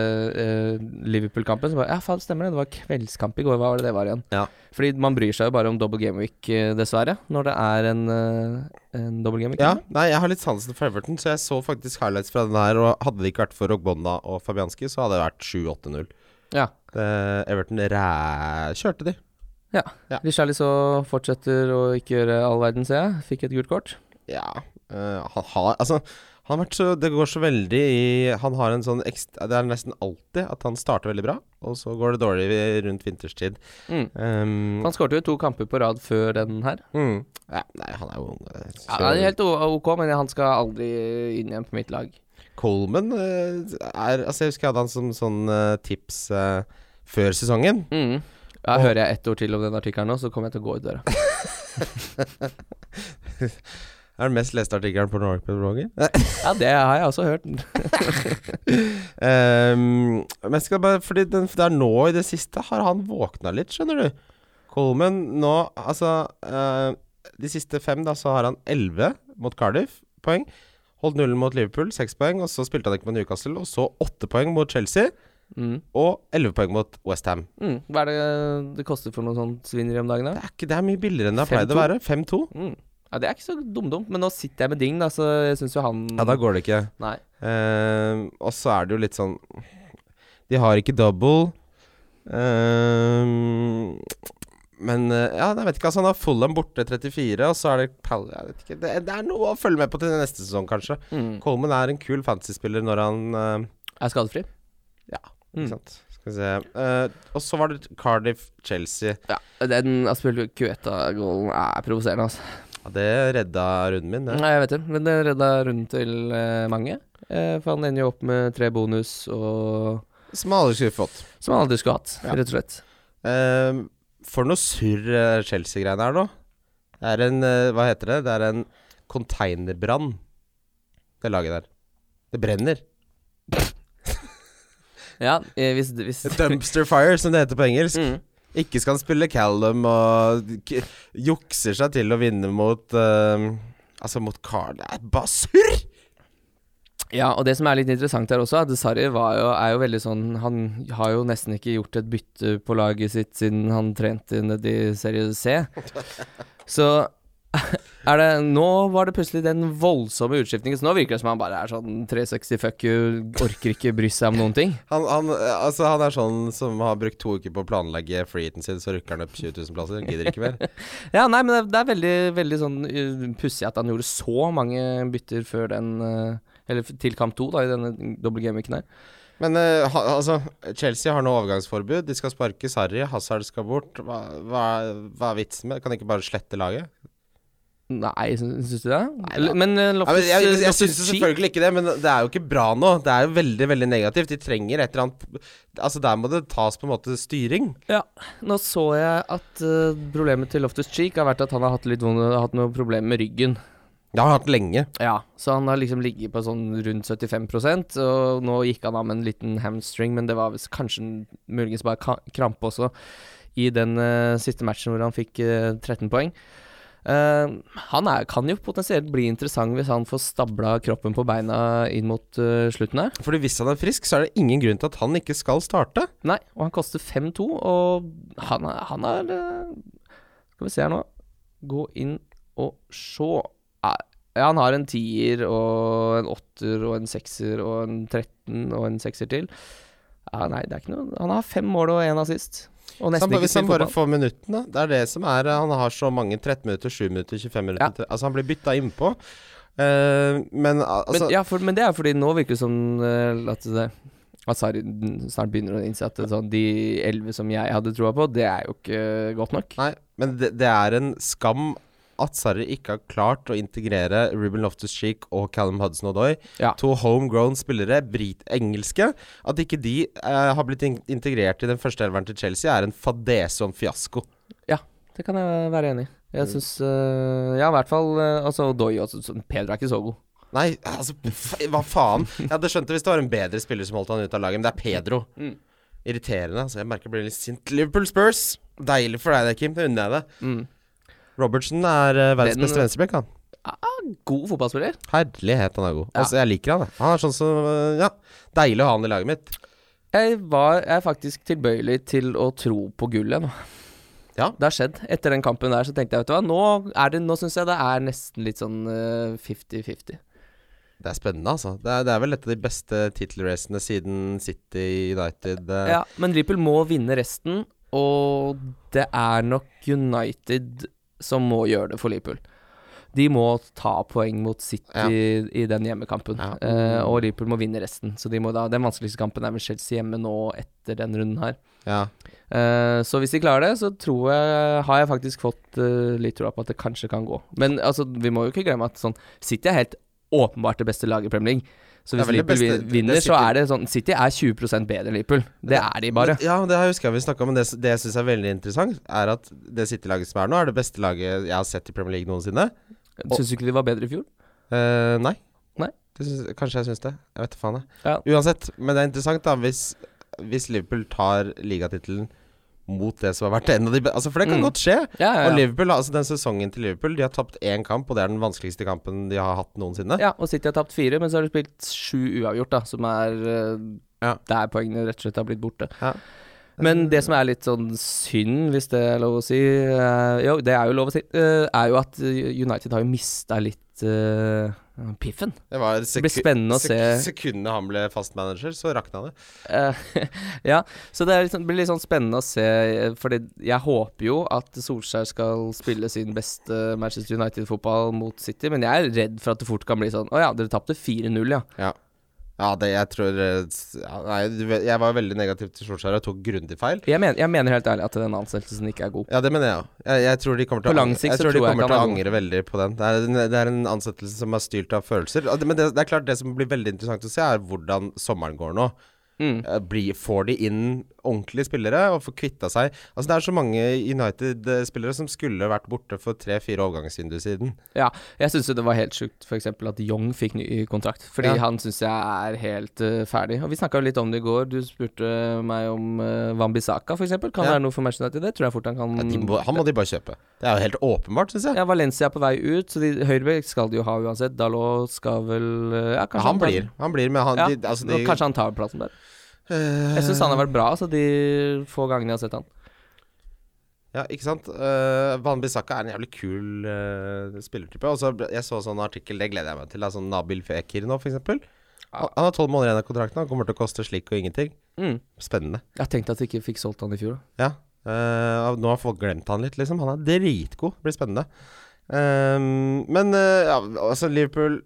eh, Liverpool-kampen, så bare Ja, faen, stemmer det. Det var kveldskamp i går. Hva var det det var igjen?
Ja.
Fordi man bryr seg jo bare om double game week, eh, dessverre, når det er en, eh, en double game week.
Ja, nei, jeg har litt sansen for Everton, så jeg så faktisk highlights fra den her. Og hadde det ikke vært for Rogbonna og Fabianski, så hadde det vært 7-8-0.
Ja.
Eh, Everton ræ... kjørte de. Ja.
Richarli så fortsetter å ikke gjøre all verden, ser jeg. Fikk et gult kort.
Ja. eh, han har Altså, han har vært så Det går så veldig i Han har en sånn ekst... Det er nesten alltid at han starter veldig bra, og så går det dårlig ved- rundt vinterstid.
Mm.
Um,
Han skårte jo to kamper på rad før den her.
mm. ja, nei, han er jo eh,
Ja,
så-
det er helt o- ok, men han skal aldri inn igjen på mitt lag.
Coleman eh, er Altså, jeg husker jeg hadde han som sånn eh, tips eh, før sesongen.
Mm. Ja, Hører jeg ett ord til om den artikkelen nå, så kommer jeg til å gå ut døra.
Det er den mest leste artikkelen på Norway-bloggen.
Ja, det har jeg også hørt.
Ehm, men jeg skal bare Fordi den, det er nå i det siste har han våkna litt, skjønner du. Coleman nå Altså eh, De siste fem, da, så har han elleve mot Cardiff poeng. Holdt nullen mot Liverpool, seks poeng. Og så spilte han ikke med Newcastle. Og så åtte poeng mot Chelsea.
Mm.
Og elleve poeng mot Westham.
Mm. Hva er det det koster for noe sånt svineri om dagen, da?
Det er, ikke, det er mye billigere enn det har pleid
5-2.
å være. 5-2.
Mm. Ja, Det er ikke så dumdumt, men nå sitter jeg med Ding, da, så jeg syns jo han
Ja, da går det ikke.
Nei.
Ehm, og så er det jo litt sånn De har ikke double. Ehm, men eh, ja, jeg vet ikke. Altså, han har Fulham borte 34, og så er det Pal... Jeg vet ikke. Det, det er noe å følge med på til neste sesong, kanskje.
Mm.
Coleman er en kul fantasyspiller når han eh,
Er skadefri.
Ja, ikke
Mm.
sant. Skal vi se. Eh, og så var det Cardiff-Chelsea.
Ja, Den altså, Aspelkueta-goalen er provoserende, altså.
Ja, det redda runden min, det.
Nei, jeg vet det, men det redda runden til eh, mange. Eh, for han ender jo opp med tre bonus og
Som alle skulle fått.
Som han aldri skulle hatt,
Ja.
rett og slett.
Ehm, for noe surr eh, Chelsea-greiene her nå. Det er en eh, Hva heter det? Det er en containerbrann, det laget der. Det brenner.
Ja, eh, hvis, hvis
Dumpster fire, som det heter på engelsk.
mm.
Ikke skal han spille Callum og k jukser seg til å vinne mot ehm, Altså mot Carl Det er bare surr!
Ja, og det som er litt interessant her også, er at Sarri var jo, er jo veldig sånn Han har jo nesten ikke gjort et bytte på laget sitt siden han trente nede i Serie C. Så er det Nå var det plutselig den voldsomme utskiftningen, så nå virker det som han bare er sånn 360 fuck you, orker ikke bry seg om noen ting.
Han, han, eh, altså, han er sånn som har brukt to uker på å planlegge freeheaten sin, så rykker han opp 20 000 plasser. Han gidder ikke mer.
Ja, nei, men det, det er veldig, veldig sånn uh, pussig at han gjorde så mange bytter før den uh, Eller f- til kamp to, da, i denne doble gameweeken her.
Men eh, ha, altså, Chelsea har nå overgangsforbud. De skal sparke Sarri, Hazard skal bort. Hva, hva, hva er vitsen med det? Kan de ikke bare slette laget?
Nei, sy- syns du det? Eller- Men uh,
Ja, men
Loftus,
jeg jeg, jeg
Loftus
syns jo selvfølgelig ikke det, men det er jo ikke bra nå. Det er jo veldig veldig negativt. De trenger et eller annet Altså, der må det tas på en måte styring.
Ja, nå så jeg at eh, problemet til Loftus Cheek har vært at han har hatt litt vonde, hatt noen problemer med ryggen.
Det har han hatt lenge.
Ja, Så han har liksom ligget på sånn rundt 75 og nå gikk han av med en liten hamstring, men det var visst kanskje en- muligens bare ka krampe også i den eh, siste matchen hvor han fikk eh, 13 poeng. Eh, han er, kan jo potensielt bli interessant hvis han får stabla kroppen på beina inn mot eh, slutten her.
Fordi hvis han er frisk, så er det ingen grunn til at han ikke skal starte.
Nei, og han koster 5-2, og han er, han er eh, Skal vi se her nå. Gå inn og se. Eh, Ja, han har en tier og en åtter og en sekser og en 13 og en sekser til. Ja, nei, det er ikke noe Han har fem mål og én assist. Og
Så
nesten
han,
ikke
hvis han
spilt
bare
fotball.
får minuttene Det er det som er eh, Han har så mange 13 minutter, 7 minutter, 25 minutter
Ja.
til- Altså, han blir bytta innpå. Eh, men al- altså
men, ja, for, men det er fordi nå virker det som eh, at det at Sarri snart begynner å innse at det, sånn, de elleve som jeg hadde troa på, det er jo ikke godt nok.
Nei, men det, det er en skam at Sarri ikke har klart å integrere Ruben Loftus-Cheek og Callum Hudson-Odoi.
Ja.
To homegrown spillere, brit-engelske. At ikke de eh, har blitt in integrert i den første elveren til Chelsea, er en fadese og en fiasko.
Det kan jeg være enig i. Jeg syns Ja, i hvert fall øh, Altså, Doy og så- Pedro er ikke så god.
Nei, altså, f hva faen? Jeg hadde skjønt det hvis det var en bedre spiller som holdt han ut av laget, men det er Pedro.
Mm.
Irriterende. altså Jeg merker jeg blir litt sint. Liverpool Spurs! Deilig for deg, det, Kim. Det unner jeg deg.
Mm.
Robertsen er eh, verdens
Den-
beste venstreback, han.
en god fotballspiller.
Herlighet, han er god.
Ja.
Altså, jeg liker han, jeg. Han er sånn som øh, Ja, deilig å ha han i laget mitt.
Jeg var jeg er faktisk tilbøyelig til å tro på gullet nå.
Ja.
Det har skjedd. Etter den kampen der så tenkte jeg, vet du hva, nå, er det- nå syns jeg det er nesten litt sånn eh, 50-50.
Det er spennende, altså. Det er, det er vel et av de beste tittelracene siden City United. eh.
Ja, men Liverpool må vinne resten, og det er nok United som må gjøre det for Liverpool. De må ta poeng mot City
Ja.
i den hjemmekampen,
Ja.
eh, og Liverpool må vinne resten. Så de må da, Den vanskeligste kampen er vel Chelsea hjemme nå etter den runden her.
ja.
Eh, så hvis de klarer det, så tror jeg har jeg faktisk fått eh, litt troa på at det kanskje kan gå. Men altså, vi må jo ikke glemme at sånn, City er helt åpenbart det beste laget i Premier League. Så
Det er
hvis
vel det
Liverpool
beste-
vin-
det-
vinner,
det
så
City-
er det sånn City er 20 bedre enn Liverpool. Det er de bare.
Men, ja, men det her husker jeg vi snakka om, men det, s- det jeg syns er veldig interessant, er at det City-laget som er nå, er det beste laget jeg har sett i Premier League noensinne.
Syns du ikke de var bedre i fjor?
Eh, nei.
Nei.
Det syns- kanskje jeg syns det. Jeg vet da faen, jeg.
Ja.
Uansett, men det er interessant, da, hvis, hvis Liverpool tar ligatittelen mot det som har vært en av de be- Altså, for det kan
Mm.
godt skje.
Ja,
Og
ja, ja.
Liverpool, altså den sesongen til Liverpool, de har tapt én kamp, og det er den vanskeligste kampen de har hatt noensinne.
ja, og City har tapt fire, men så har de spilt sju uavgjort, da, som er eh,
Ja.
der poengene rett og slett har blitt borte.
Ja.
Men det som er litt sånn synd, hvis det er lov å si, eh, jo, det er jo lov å si, eh, er jo at eh, United har jo mista litt eh, piffen.
Det var
Det blir
seku-
spennende å se.
sek sekundet han ble fast manager, så rakna det.
Eh, ja, så det er litt sånn- blir litt sånn spennende å se, eh, Fordi jeg håper jo at Solskjær skal spille sin beste Manchester United-fotball mot City, men jeg er redd for at det fort kan bli sånn Å ja, dere tapte 4-0, ja.
Ja, det jeg tror eh, s- ja, Nei, du vet- jeg var veldig negativ til Solskjær og tok grundig feil.
Jeg, men, jeg mener helt ærlig at den ansettelsen ikke er god.
Ja, det mener jeg òg. Jeg, jeg tror de kommer til
På
å,
lang
ang-
sikt
jeg
så
tror de
tror jeg
kommer til
kan
å
være
angre veldig på den. Det er, en, det er en ansettelse som er styrt av følelser. Og det- Men det, det er klart det som blir veldig interessant å se, er hvordan sommeren går nå.
Mm.
Eh, blir- får de inn ordentlige spillere og får kvitta seg Altså Det er så mange United-spillere som skulle vært borte for tre-fire overgangsvinduer siden.
Ja, jeg syns jo det var helt sjukt f.eks. at Young fikk ny kontrakt, fordi
Ja.
han syns jeg er helt eh, ferdig. Og Vi snakka jo litt om det i går. Du spurte meg om uh, Wambisaka f.eks. Kan
Ja.
være noe for Manchester United? Det tror jeg fort han kan.
Ja, de må, han må de bare kjøpe. Det er jo helt åpenbart, syns jeg.
Ja, Valencia er på vei ut, så de Høyrebekk skal de jo ha uansett. Dalot skal vel eh, Ja, kanskje
han
tar-
blir. Han blir med han
Ja,
de, altså,
nå
de,
Kanskje han tar plassen der.
Eh,
Jeg syns han har vært bra, så de få gangene jeg har sett han.
Ja, ikke sant? Uh, Van Bissaka er en jævlig kul eh, spillertype. Og så ble- Jeg så sånn artikkel, det gleder jeg meg til. Da, sånn Nabil Fekir nå, f.eks. eksempel Han, han har tolv måneder igjen av kontrakten. Han kommer til å koste slik og ingenting.
Mm.
Spennende.
Jeg tenkte at vi ikke fikk solgt han i fjor. da.
Ja. eh, og nå har folk glemt han litt, liksom. Han er dritgod. Det blir spennende. Ehm, men eh, ja, altså, Liverpool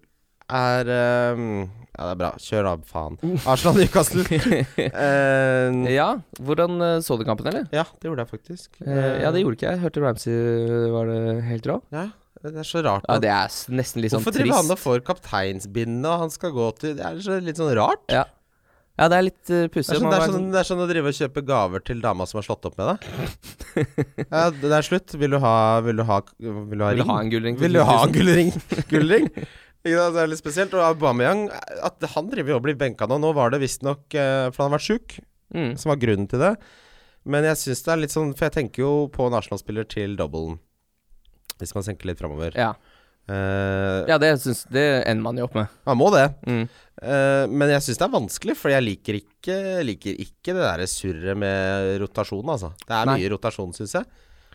er ehm, Ja, det er bra. Kjør av, faen. Arsenal Newcastle. Ehm,
Ja, hvordan eh, så du kampen, eller?
ja, det gjorde jeg faktisk.
Eh, ja, det gjorde ikke jeg. Hørte Ramsey eh, var det helt rå.
Ja, Eh, det er så rart.
Ja,
at-
det er s- nesten litt sånn
Hvorfor
trist.
driver han og får kapteinsbindet, og han skal gå til Det er så, litt sånn rart.
Ja. ja, det er litt uh,
Det
pussig.
er, sånn,
Man
det, er
var
sånn, det er sånn å drive og kjøpe gaver til dama som har slått opp med deg. Ja, det er slutt. Vil du ha Vil du ha, vil du ha
sånn, Vil
ring?
du ha en gullring? til
Vil du ha
10 000?
gullring? gullring? Ikke sant? Det er litt spesielt. Og Aubameyang at Han driver jo og blir benka nå. Nå var det visstnok eh, For han har vært sjuk,
Mm.
som var grunnen til det. Men jeg syns det er litt sånn For jeg tenker jo på nasjonalspiller til doublen. Hvis man senker litt framover. Eh,
Ja. ja, det syns Det ender man jo opp med.
Man må det.
Mm.
Eh, men jeg syns det er vanskelig, for jeg liker ikke, liker ikke det derre surret med rotasjon, altså. Det er
Nei.
mye rotasjon, syns jeg.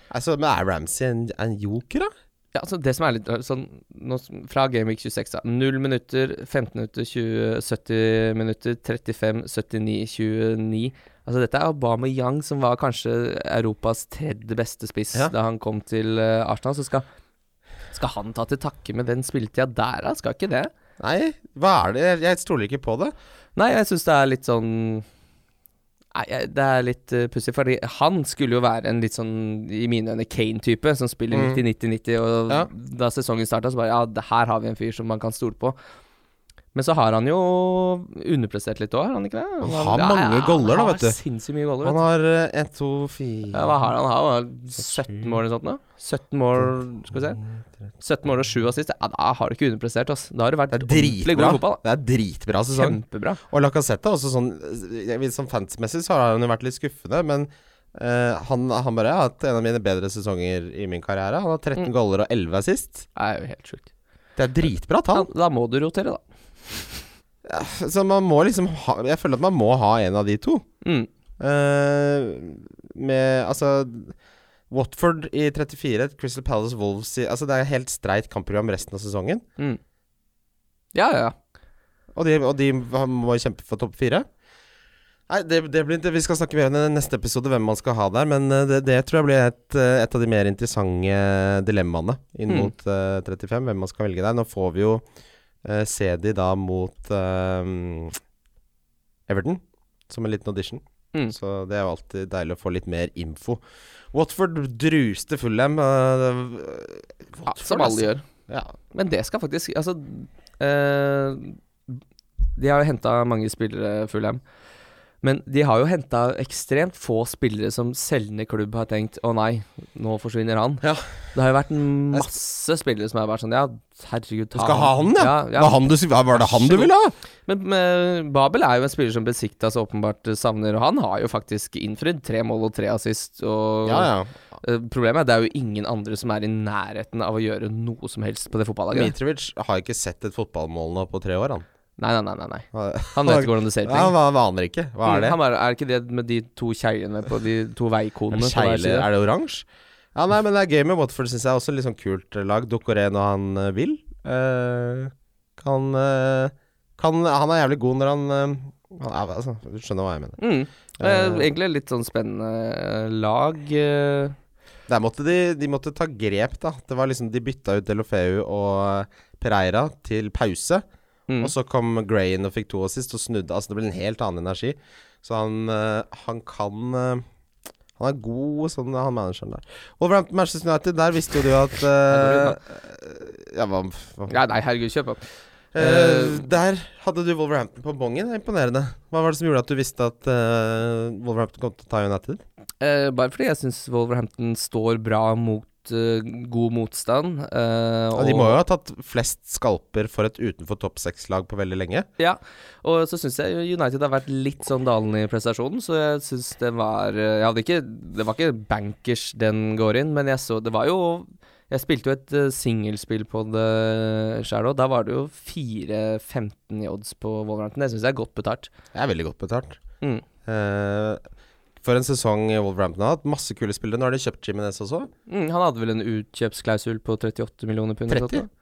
Altså, men er Ramsey en, en joker, da?
Ja, altså det som er litt sånn nå, Fra Gameweek 26, da. 0 minutter, 15 minutter, 20, 70 minutter, 35, 79, 29. Altså dette er Aubameyang som var kanskje Europas tredje beste spiss
Ja.
da han kom til eh, Arsenal. Så skal, skal han ta til takke med den spilletida der, da? Skal ikke det?
Nei, hva er det? Jeg, jeg stoler ikke på det.
Nei, jeg syns det er litt sånn Nei, jeg- det er litt uh, pussig, fordi han skulle jo være en litt sånn, i mine øyne, Kane-type, som spiller
Mm.
90-90-90, og
Ja.
da sesongen starta, så bare Ja, det her har vi en fyr som man kan stole på. Men så har han jo underprestert litt òg, har han ikke det?
Han har mange goller da, vet du.
Han har sinnssykt mye goller.
Han
Vet du.
har eh, en, to, fire
Ja, hva har han? Han har 17 mål eller sånt nå? 17 mål, skal vi se. 17 mål og 7 assist. Ja, da har du ikke underprestert, ass. Da har du vært
Det er
ordentlig god
dritbra.
i fotball. da.
Det er dritbra sesong.
Kjempebra.
Og Lacassette også sånn jeg vil- Sånn fansmessig så har han jo vært litt skuffende, men eh, han, han bare har hatt en av mine bedre sesonger i min karriere. Han har 13 goller og 11 assist.
Det er jo helt sjukt.
Mm. Det er dritbra
Ja,
tall.
da må du rotere, da.
Så man må liksom ha Jeg føler at man må ha en av de to.
Mm.
Eh, med Altså Watford i 34, Crystal Palace Wolves i Altså Det er helt streit kampprogram resten av sesongen.
Mm. Ja, ja.
Og de, og de må kjempe for topp fire. Nei, det, det blir, det, Vi skal snakke mer om det i neste episode, hvem man skal ha der. Men eh, det, det tror jeg blir et, eh, et av de mer interessante dilemmaene inn
Mm.
mot eh, 35. Hvem man skal velge der. Nå får vi jo eh, se de da mot eh, Everton som en liten audition.
Mm.
Så det er jo alltid deilig å få litt mer info. Watford druste Fulham. eh,
ja
Watford,
som alle
altså.
gjør.
Ja.
Men det skal faktisk Altså eh, De har jo henta mange spillere, Fulham. Men de har jo henta ekstremt få spillere som selgende klubb har tenkt Å nei, nå forsvinner han.
Ja.
Det har jo vært masse spillere som har vært sånn Ja, herregud, ta
Du skal ha han, ja?
ja,
Var, han du, var det han du ville ha?
Men, men Babel er jo en spiller som Besiktas åpenbart savner, og han har jo faktisk innfridd tre mål og tre assist. Og
Ja, ja.
eh, problemet er at det er jo ingen andre som er i nærheten av å gjøre noe som helst på det fotballaget.
Mitrovic har ikke sett et fotballmål nå på tre år, han.
Nei, nei, nei, nei, nei.
Han,
Han vet ikke hvordan det ser ut.
ja,
lenger.
han aner ikke. Hva er det?
Han er, er ikke det med de to kjeglene på de to
Er
veikonene
det,
på hver
kjegler?
side?
er det oransje? Ja, nei, men det er gøy med Watford, syns jeg. Også litt sånn kult lag. Dokoré når han eh, vil. Eh, kan, eh, kan Han er jævlig god når han, eh, han er, altså, Du skjønner hva jeg mener.
Mm. Eh,
Eh,
egentlig litt sånn spennende lag. eh.
Der måtte de, de måtte ta grep, da. Det var liksom De bytta ut Delofeu og eh, Pereira til pause.
Mm.
Og så kom Gray inn og fikk to assist og snudde. Altså Det ble en helt annen energi. Så han, eh, han kan eh, Han er god sånn, han manageren der. Wolverhampton Manchester United, der visste jo du at eh, Ja, hva, hva
Ja, nei, herregud, kjøp opp.
Eh, Der hadde du Wolverhampton på bongen. Imponerende. Hva var det som gjorde at du visste at eh, Wolverhampton kom til å ta United?
Eh, bare fordi jeg syns Wolverhampton står bra mot eh, god motstand. eh,
Ja, de må jo ha tatt flest skalper for et utenfor topp seks-lag på veldig lenge.
Ja, og så syns jeg United har vært litt sånn dalende i prestasjonen, så jeg syns det var eh, Jeg hadde ikke Det var ikke bankers den går inn, men jeg så Det var jo Jeg spilte jo et eh, singelspill på det sjæl òg. Da var det jo 4-15 i odds på Wolverhampton. Det syns jeg er godt betalt.
Det er veldig godt betalt.
Mm.
Eh, for en sesong Wolverhampton har hatt. Masse kule spillere. Nå har de kjøpt Jimenez også.
Mm, han hadde vel en utkjøpsklausul på 38 millioner pund?
30?
eller noe sånt da?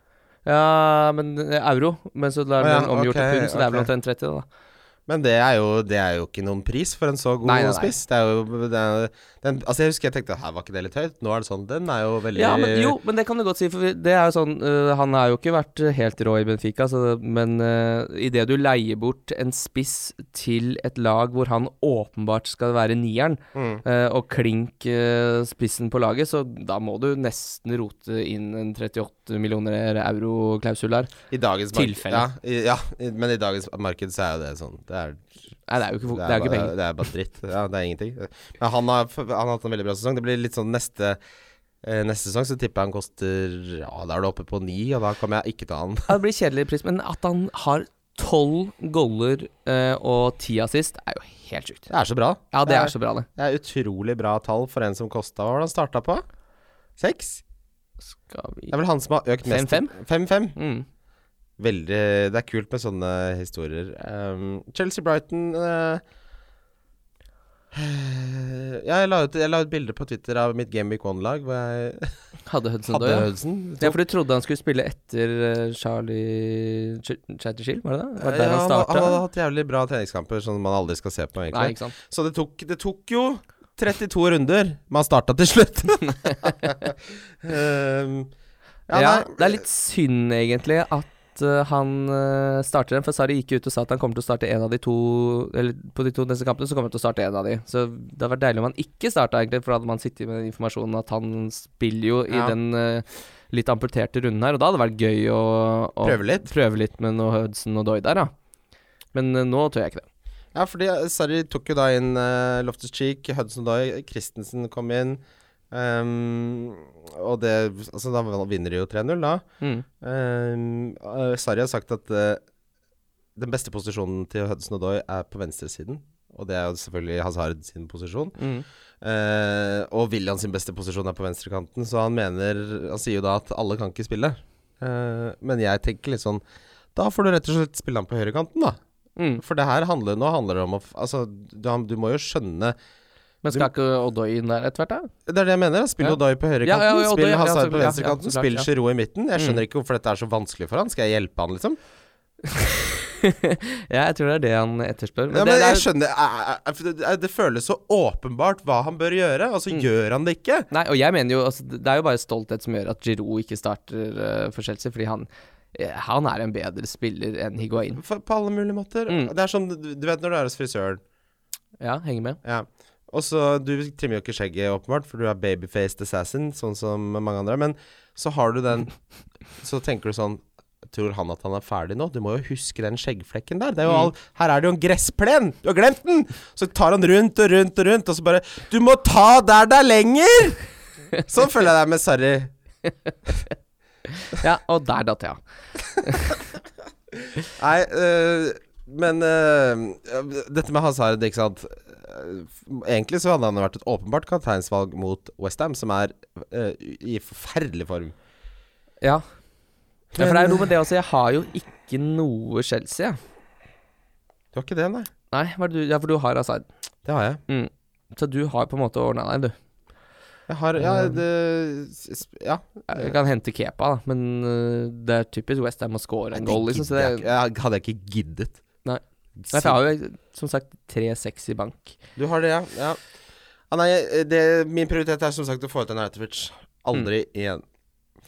Ja, men eh, euro. Men så da er
Å
det
ja,
en omgjort til
ok,
pund, så det er vel
ok.
omtrent 30, da.
Men det er, jo, det er jo ikke noen pris for en så god
Nei, nei, nei.
spiss. Det er jo det er, den, Altså Jeg husker jeg tenkte her var ikke det litt høyt. Nå er det sånn Den er jo veldig
Ja, men, jo, men det kan du godt si. For vi- det er jo sånn øh, Han har jo ikke vært øh, helt rå i Benfica, så, men øh, i idet du leier bort en spiss til et lag hvor han åpenbart skal være nieren,
Mm.
øh, og klink øh, spissen på laget, så da må du nesten rote inn en 38 millioner euro-klausul der.
I dagens marked-
Tilfelle.
Ja, i, ja, i, men i dagens marked så er jo det sånn. Det er,
Nei, det er jo ikke, det er jo ikke
bare,
penger.
Det er bare dritt. Ja, det er ingenting. Men han har, han har hatt en veldig bra sesong. Det blir litt sånn neste eh, Neste sesong så tipper jeg han koster Ja, da er du oppe på ni, og da kommer jeg ikke til han.
Ja, Det blir kjedelig pris, men at han har tolv goller øh, og ti assist, er jo helt sjukt.
Det er så bra.
Ja, det er så bra, det.
Det er utrolig bra tall for en som kosta Hva var det han starta på? Seks?
Skal vi
Det er vel han som har økt mest.
5-5?
5-5.
mm.
Veldig Det er kult med sånne historier. Um, Chelsea-Brighton eh, ja, jeg la, ut, jeg la ut bilder på Twitter av mitt Game Week One-lag hvor jeg
Hadde Hudson
hadde
Doy, ja.
Hudson.
Ja, for du trodde han skulle spille etter eh, Charlie Ch Chatterchill, var det det? Var
Ja,
det der
han,
han
han hadde
starta?
hatt jævlig bra treningskamper som man aldri skal se på.
Nei,
egentlig
ikke sant.
Så det tok, det tok jo 32 runder, men han starta til slutt. um,
Ja,
nei,
det er litt synd, egentlig, at eh, han eh, starter den, for Sarri gikk jo ut og sa at han kommer til å starte en av de to Eller på de to neste kampene, så kommer han til å starte en av de. Så det hadde vært deilig om han ikke starta, egentlig, for da hadde man sittet med den informasjonen at han spiller jo i
Ja.
den eh, litt amputerte runden her, og da hadde det vært gøy å, å
Prøve litt.
prøve litt med noe Hudson og Doy der, da. Men eh, nå tør jeg ikke det.
Ja, fordi eh, Sarri tok jo da inn uh, Loftus Cheek, Hudson Doy, Christensen kom inn. ehm, og det Altså, da vinner de jo 3-0, da.
Mm.
Ehm, eh, Sarri har sagt at eh, den beste posisjonen til Hudson Doy er på venstresiden. Og det er jo selvfølgelig Hazard sin posisjon.
Mm.
Eh, og William sin beste posisjon er på venstrekanten, så han mener Han sier jo da at alle kan ikke spille. Eh, men jeg tenker litt sånn Da får du rett og slett spille han på høyrekanten, da.
Mm.
For det her handler nå handler det om å f- Altså, du, han- du må jo skjønne
Men skal ikke Odoi inn der etter hvert, da?
Det er det jeg mener. Spill
Ja.
Odoi på
Ja,
høyrekanten,
ja, ja, Odoi,
spill
ja,
Hazard
så
på
klart, ja,
venstrekanten,
så klart,
spill
ja. Mm.
Giroud i midten. Jeg skjønner ikke hvorfor dette er så vanskelig for han. Skal jeg hjelpe han, liksom?
Ja, jeg tror det er det han etterspør.
ja,
det,
men
det
jeg
er,
skjønner eh, jeg- jeg- jeg- Det det føles så åpenbart hva han bør gjøre, og så
Mm.
gjør han det ikke.
nei, og jeg mener jo altså, Det er jo bare stolthet som gjør at Giroud ikke starter eh, for Chelsea, fordi han, eh, han er en bedre spiller enn Higuain.
For, på alle mulige måter.
Mm.
Det er sånn, du du vet når du er hos frisøren
Ja, henger med.
ja. Og så, Du trimmer jo ikke skjegget, åpenbart, for du er babyfaced assassin, sånn som mange andre. Men så har du den Så tenker du sånn Tror han at han er ferdig nå? Du må jo huske den skjeggflekken der. Det er jo all, her er det jo en gressplen! Du har glemt den! Så tar han rundt og rundt og rundt, og så bare Du må ta der det er lenger! Sånn føler jeg det er med Sarri.
Ja, og der datt jeg av.
Nei, øh, men øh, dette med Hazard, ikke sant Øh, Egentlig så hadde han vært et åpenbart kapteinsvalg mot Westham, som er øh, i forferdelig form.
Ja. ja. For det er jo noe med det også. Jeg har jo ikke noe Chelsea, jeg.
Du har ikke det, nei?
Nei, hva er det du, ja, for du har Hazard.
Det har jeg.
Mm. Så du har på en måte ordna deg, du.
Jeg har Ja, det sp- Ja.
Jeg kan hente Kepa, da, men øh, det er typisk Westham å score en
Det
goal, liksom. Så
gidder jeg,
det
ikke. jeg hadde jeg ikke giddet.
Nei. Nei, for jeg har jo som sagt 3-6 i bank.
Du har det, ja. ja. Ah, nei, det, min prioritet er som sagt å få ut en Aratovic. Aldri igjen.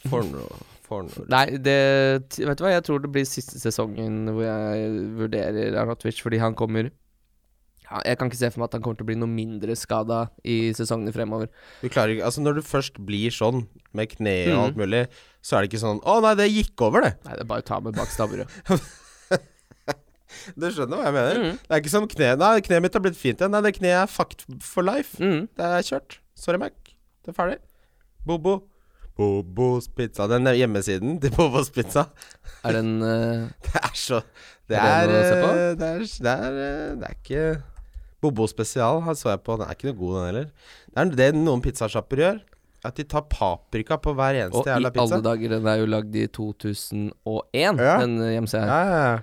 For noe. For noe.
Nei, det t- Vet du hva, jeg tror det blir siste sesongen hvor jeg vurderer Arnatovic, fordi han kommer ja, Jeg kan ikke se for meg at han kommer til å bli noe mindre skada i sesongene fremover.
Du klarer ikke Altså, når du først blir sånn, med kneet og
Mhm.
alt mulig, så er det ikke sånn Å nei, det gikk over, det.
Nei, det er bare å ta med bak stabburet.
Du skjønner hva jeg mener?
Mhm.
Det er ikke som kne Nei, kneet mitt har blitt fint igjen. Nei, det kneet er fucked for life.
Mm.
Det er kjørt. Sorry, Mac. Det er ferdig. Bobo. Bobos pizza. Den er hjemmesiden til Bobos pizza.
Er den eh,
Det er så Det
Er
er
det noe å se på?
eh, Det er, det er, eh, det er ikke Bobo spesial her så jeg på. Den er ikke noe god, den heller. Det er det noen pizzasjapper gjør. At de tar paprika på hver eneste
Og i
jævla pizza.
alle dager, den er jo lagd i 2001,
Ja.
den eh, hjemmesida her.
Ja, ja, ja.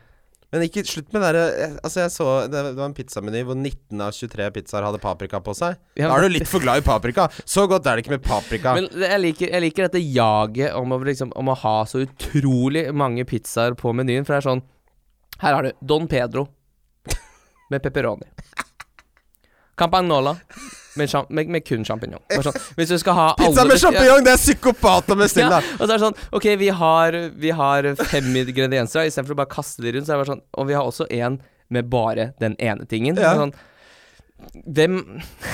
Men ikke slutt med det derre Altså, jeg så det, det var en pizzameny hvor 19 av 23 pizzaer hadde paprika på seg.
Ja,
Da er
men-
du litt for glad i paprika. Så godt er det ikke med paprika.
Men det- jeg liker, jeg liker dette jaget om å, liksom, om å ha så utrolig mange pizzaer på menyen, for det er sånn Her har du Don Pedro med pepperoni. Campagnola med, sjam- med, med kun sjampinjong. Bare Sånn, hvis du skal ha alle
Pizza med
Ja,
sjampinjong, det er psykopat å bestille!
ja, og så er det sånn Ok, vi har, vi har fem ingredienser. og Istedenfor å bare kaste de rundt, så er det bare sånn Og vi har også en med bare den ene tingen.
Ja.
Sånn, hvem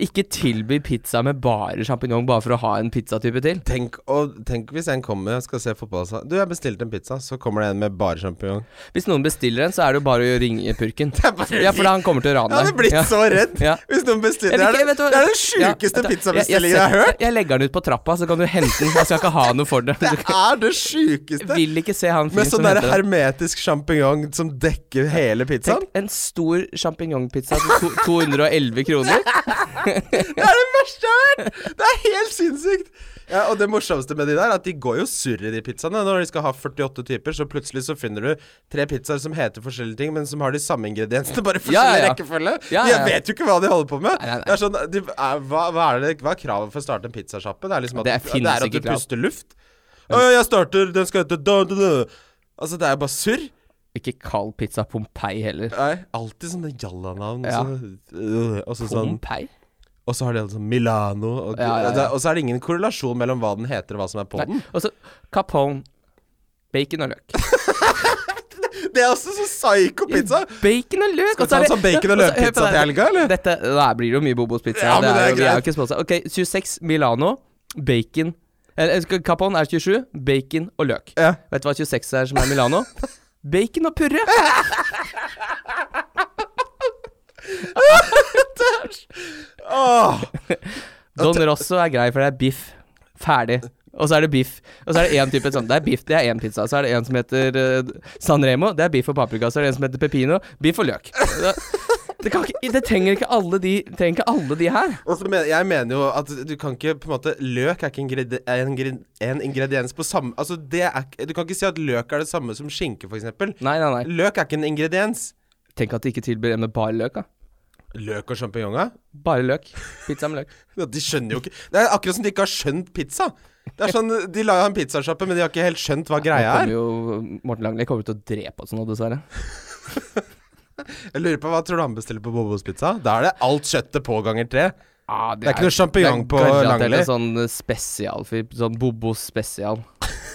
Ikke tilby pizza med bare sjampinjong bare for å ha en pizzatype til.
Tenk, og, tenk hvis en kommer og skal se fotball og sa Du, jeg bestilte en pizza, så kommer det en med bare sjampinjong.
Hvis noen bestiller en, så er det jo bare å ringe purken. Ja, for da han kommer til å
Jeg
rane
hadde blitt
Ja.
så redd
Ja.
hvis noen bestiller
Jeg vet
det, er
ikke,
det.
vet du hva-
Det er den
Ja,
sjukeste
vet du-
pizzabestillingen jeg har
setter-
hørt!
Jeg legger den ut på trappa, så kan du hente den. Jeg skal ikke ha noe for det.
Det
Du
er det sjukeste!
vil ikke se han fyren
Med
som
sånn derre
henter den.
hermetisk sjampinjong som dekker hele pizzaen.
Tenk, en stor sjampinjongpizza til to- 211 kroner.
Det er det verste jeg har hørt! Det er helt sinnssykt! Ja, og det morsomste med de der, er at de går jo surr i de pizzaene. Når de skal ha 48 typer, så plutselig så finner du tre pizzaer som heter forskjellige ting, men som har de samme ingrediensene, bare i
Ja,
forskjellig
ja, ja.
rekkefølge.
Ja, ja,
Jeg
ja.
vet jo ikke hva de holder på med.
Nei, nei, nei.
Det er sånn, de, er, hva, hva, er det, hva er kravet for å starte en pizzasjappe? Det er liksom at,
Det
du-
finnes
det er at
ikke
du
krav.
puster luft. Å, jeg starter, den skal hete da, da, da. Altså, det er jo bare surr.
Ikke kall pizza Pompeii heller.
Alltid sånne jallanavn.
Ja.
så- øh, Og så sånn
Pompeii?
og så har de alle sånn Milano og,
Ja, ja, ja.
og det- Og så er det ingen korrelasjon mellom hva den heter og hva som er på
Nei.
den.
Og så Capone. Bacon og løk.
Det er også så psycho pizza!
Bacon og løk!
Skal vi
og så
ta
er
en
det-
sånn bacon- og
så- hør på
løkpizza
det.
til helga, eller?
Dette, da blir det jo mye Bobos pizza.
Ja, men
det er,
det er
jo- vi er jo
greit.
ikke sponset. Ok, 26 Milano, bacon eller, eh, skal- Capone er 27, bacon og løk.
Ja.
Vet du hva 26 er som er Milano? Bacon og purre!
Åh,
Don Rosso er grei, for det er biff. Ferdig. Og så er det biff. Og så er det én type sånn. Det er biff, det er én pizza. Så er det en som heter eh, San Remo. Det er biff og paprika. Så er det en som heter pepino. Biff og løk. Det, kan ikke, det trenger ikke alle de Trenger ikke alle de her.
Og så men, jeg mener jo at du kan ikke på en måte Løk er ikke ingredi er ingre- en ingrediens på samme Altså det er ikke Du kan ikke si at løk er det samme som skinke, for eksempel
Nei, nei, nei.
Løk er ikke en ingrediens.
Tenk at de ikke tilbyr en med bare løk, da.
Løk og sjampinjonger?
Bare løk. Pizza med løk.
Ja, De skjønner jo ikke Det er akkurat som de ikke har skjønt pizza. Det er sånn, De la en pizzasjappe, men de har ikke helt skjønt hva
Nå
greia
kommer
er.
jo Morten Langli kommer til å drepe oss nå, dessverre.
Jeg lurer på, Hva tror du han bestiller på Bobos pizza? Da er det alt kjøttet på ganger tre.
Ah,
Det er ikke noe sjampinjong på
Det er
Langley.
garantert en sånn spesial, sånn Bobo spesial,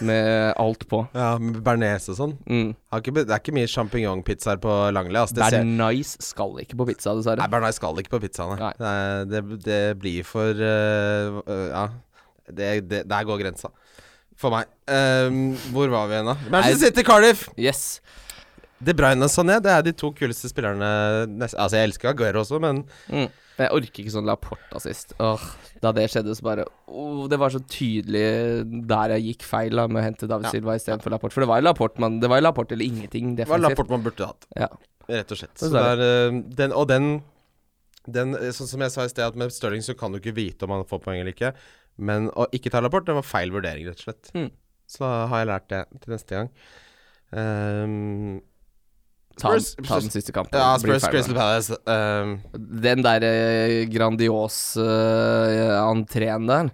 med alt på.
Ja, med bearnés og sånn.
Mm.
Har ikke be- Det er ikke mye sjampinjongpizzaer på Langley. Altså, det ser...
Bernice skal ikke på pizza, dessverre.
Nei, bearnés skal ikke på pizzaene.
Nei.
Det, er- det, det blir for øh, øh, Ja. Det, det, der går grensa. For meg. Ehm, hvor var vi igjen, da? Manchester City, Cardiff!
Yes.
De Bruyne og Sané det er de to kuleste spillerne nest, Altså, jeg elsker Aguero også, men
Mm. Jeg orker ikke sånn Laporta sist. Åh, da det skjedde, så bare åh, Det var så tydelig der jeg gikk feil da, med å hente David
Ja.
Silva istedenfor Laporte. For det var jo Laporte, man, det var jo Laporte eller ingenting
det var
defensivt.
Laporte man burde hatt,
Ja.
rett og slett. Så det
Dessverre.
er, eh, den, og den, den eh, Sånn som jeg sa i sted, at med Stirling så kan du ikke vite om han får poeng eller ikke. Men å ikke ta Laporte, det var feil vurdering, rett og slett.
Mm.
Så da har jeg lært det til neste gang. Ehm,
Ta, den-
Spurs-
ta den siste kampen.
ja,
Det blir
Spurs
feil, da.
Crystal Palace. ehm,
Den der eh, grandios eh, entreen der.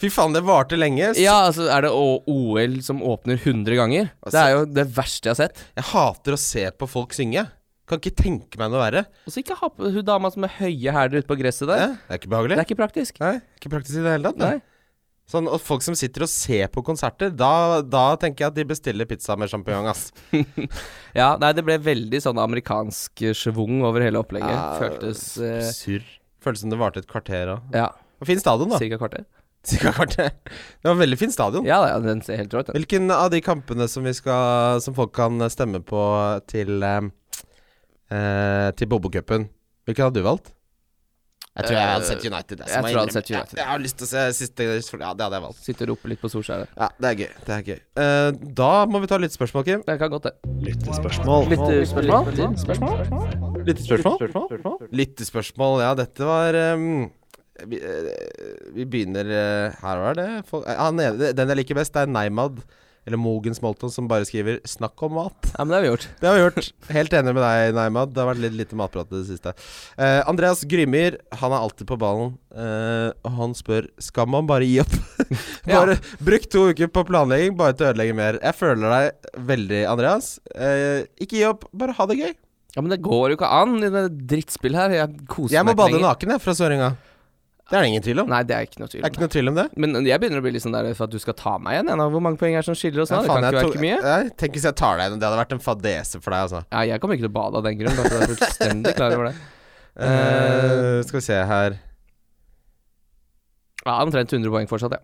fy faen, det varte lenge. S-
Ja, altså er det O- OL som åpner 100 ganger?
Altså-
Det er jo det verste jeg har sett.
Jeg hater å se på folk synge. Kan ikke tenke meg noe verre.
Og så ikke ha på hun dama som er høye hæler ute på gresset der.
Eh, Det er ikke behagelig.
Det er ikke praktisk.
Nei, ikke praktisk i det hele tatt. det.
Nei.
Sånn, og folk som sitter og ser på konserter, da, da tenker jeg at de bestiller pizza med sjampinjong, ass.
Ja, nei, det ble veldig sånn amerikansk eh, schwung over hele opplegget.
Ja,
Føltes eh,
Surr. Føles som det varte et kvarter òg.
Ja,
Fin stadion, da.
cirka kvarter.
Cirka kvarter. Det var veldig fin stadion.
Ja, ja, den ser helt rå ut, den.
Hvilken av de kampene som, vi skal, som folk kan stemme på til eh, eh, Til Bobokupen, hvilken hadde du valgt? Jeg
tror jeg hadde sett
United.
jeg må innrømme.
Eh, Jeg, jeg har lyst til å se siste Ja, det hadde jeg valgt.
Sitter og roper litt på Solskjæret.
Ja, Det er gøy. Det er gøy. Eh, da må vi ta litt spørsmål, Kim.
Det kan godt, det.
Lyttespørsmål.
Lyttespørsmål?
Lyttespørsmål, ja. Dette var ehm, vi, eh, vi begynner eh, Her var det folk, eh, han ene, Den jeg liker best, det er Neymad. Eller Mogens Molton, som bare skriver 'snakk om mat'.
Ja, men det har vi gjort.
Det har vi gjort. Helt enig med deg, Neymad. Det har vært litt lite matprat i det siste. Eh, Andreas Grymyr, han er alltid på ballen. eh, og han spør skal man bare gi opp. bare Bruk to uker på planlegging, bare til å ødelegge mer. Jeg føler deg veldig, Andreas. Eh, ikke gi opp, bare ha det gøy.
Ja, Men det går jo ikke an i det drittspillet her. Jeg koser
Jeg må
meg ikke
bade
lenger.
naken, jeg, fra Sørenga. Det er det ingen tvil om.
Nei, det er ikke noe tvil.
Det er
om
ikke noe tvil om det.
Men jeg begynner å bli litt sånn der for at du skal ta meg igjen. jeg, nå. Hvor mange poeng er det som skiller oss nå?
Ja,
det
faen,
kan ikke
jeg
være
tok-
ikke mye.
Nei, tenk hvis jeg tar deg igjen. Det hadde vært en fadese for deg, altså.
Ja, jeg kommer ikke til å bade av den grunn. Altså, jeg er fullstendig klar over det. Eh,
Eh, skal vi se her
ja, omtrent 100 poeng fortsatt, ja.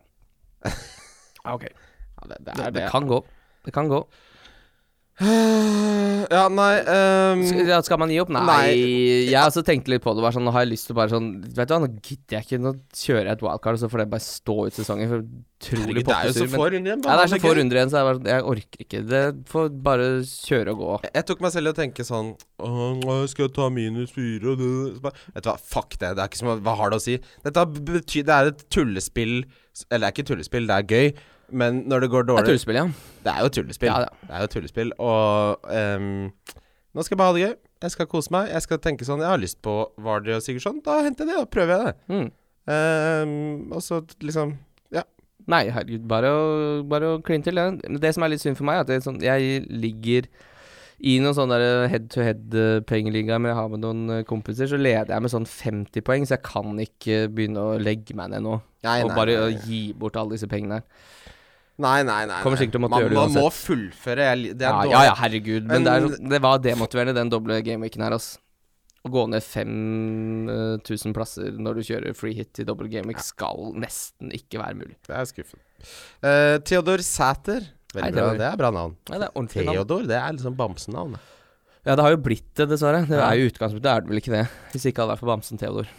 ja ok.
det,
Det, det kan gå. Det kan gå.
Ja, nei ehm,
Skal, ja, skal man gi opp? Nei. Jeg også tenkte litt på det. Var sånn, nå har jeg lyst til å bare sånn Vet du hva, nå gidder jeg ikke. Nå kjører jeg et wildcard, og så får det bare stå ut sesongen. For
herregud,
utrolig
Det er jo så
pottesur.
få runder igjen.
Ja, det er
behandle
så få
gøy.
runder igjen, så jeg, bare, jeg orker ikke. Det får bare kjøre og gå.
Jeg- Jeg tok meg selv i å tenke sånn «Åh, nei, Skal jeg ta minus fire og det?» Så bare, Vet du hva, fuck det. Det er ikke som, Hva har det å si? Dette betyr, det er et tullespill Eller det er ikke tullespill, det er gøy. Men når det går
Det er
dårlig
tullespill, ja.
Det er jo tullespill.
Ja, ja.
Det er jo tullespill. Og ehm, nå skal jeg bare ha det gøy. Jeg skal kose meg. Jeg skal tenke sånn Jeg har lyst på Vardy og Sigurdsson. sånn. Da henter jeg det, da prøver jeg det.
Mm.
Ehm, og så liksom
Nei, herregud, bare å, bare å kline til. Det. det som er litt synd for meg, er at det, er sånn, jeg ligger i noen sånne der head-to-head-pengeligaer eh, med jeg har med noen eh, kompiser, så leder jeg med sånn 50 poeng, så jeg kan ikke begynne å legge meg ned nå.
Nei,
og
nei,
bare
nei,
eh, gi bort alle disse pengene her.
Nei, nei, nei.
Kommer
nei.
sikkert til å måtte
man,
gjøre det
Man må fullføre. Jeg, li- det er
Ja,
dårlig.
ja, ja, herregud. Men, det, er,
Men-
sånn- det var demotiverende, den doble gameweeken her, altså. Å gå ned 5000 plasser når du kjører free hit i dobbel gameweek skal nesten ikke være mulig.
Det er skuffende. Eh, Theodor Sæter.
Hei,
Veldig bra.
Theodor.
Det er bra navn.
Nei, det er ordentlig navn.
Theodor, det er liksom bamsenavn.
Ja, det har jo blitt det, dessverre. Det
Ja.
er jo utgangspunktet, er det vel ikke det. Hvis det ikke hadde vært for bamsen Theodor.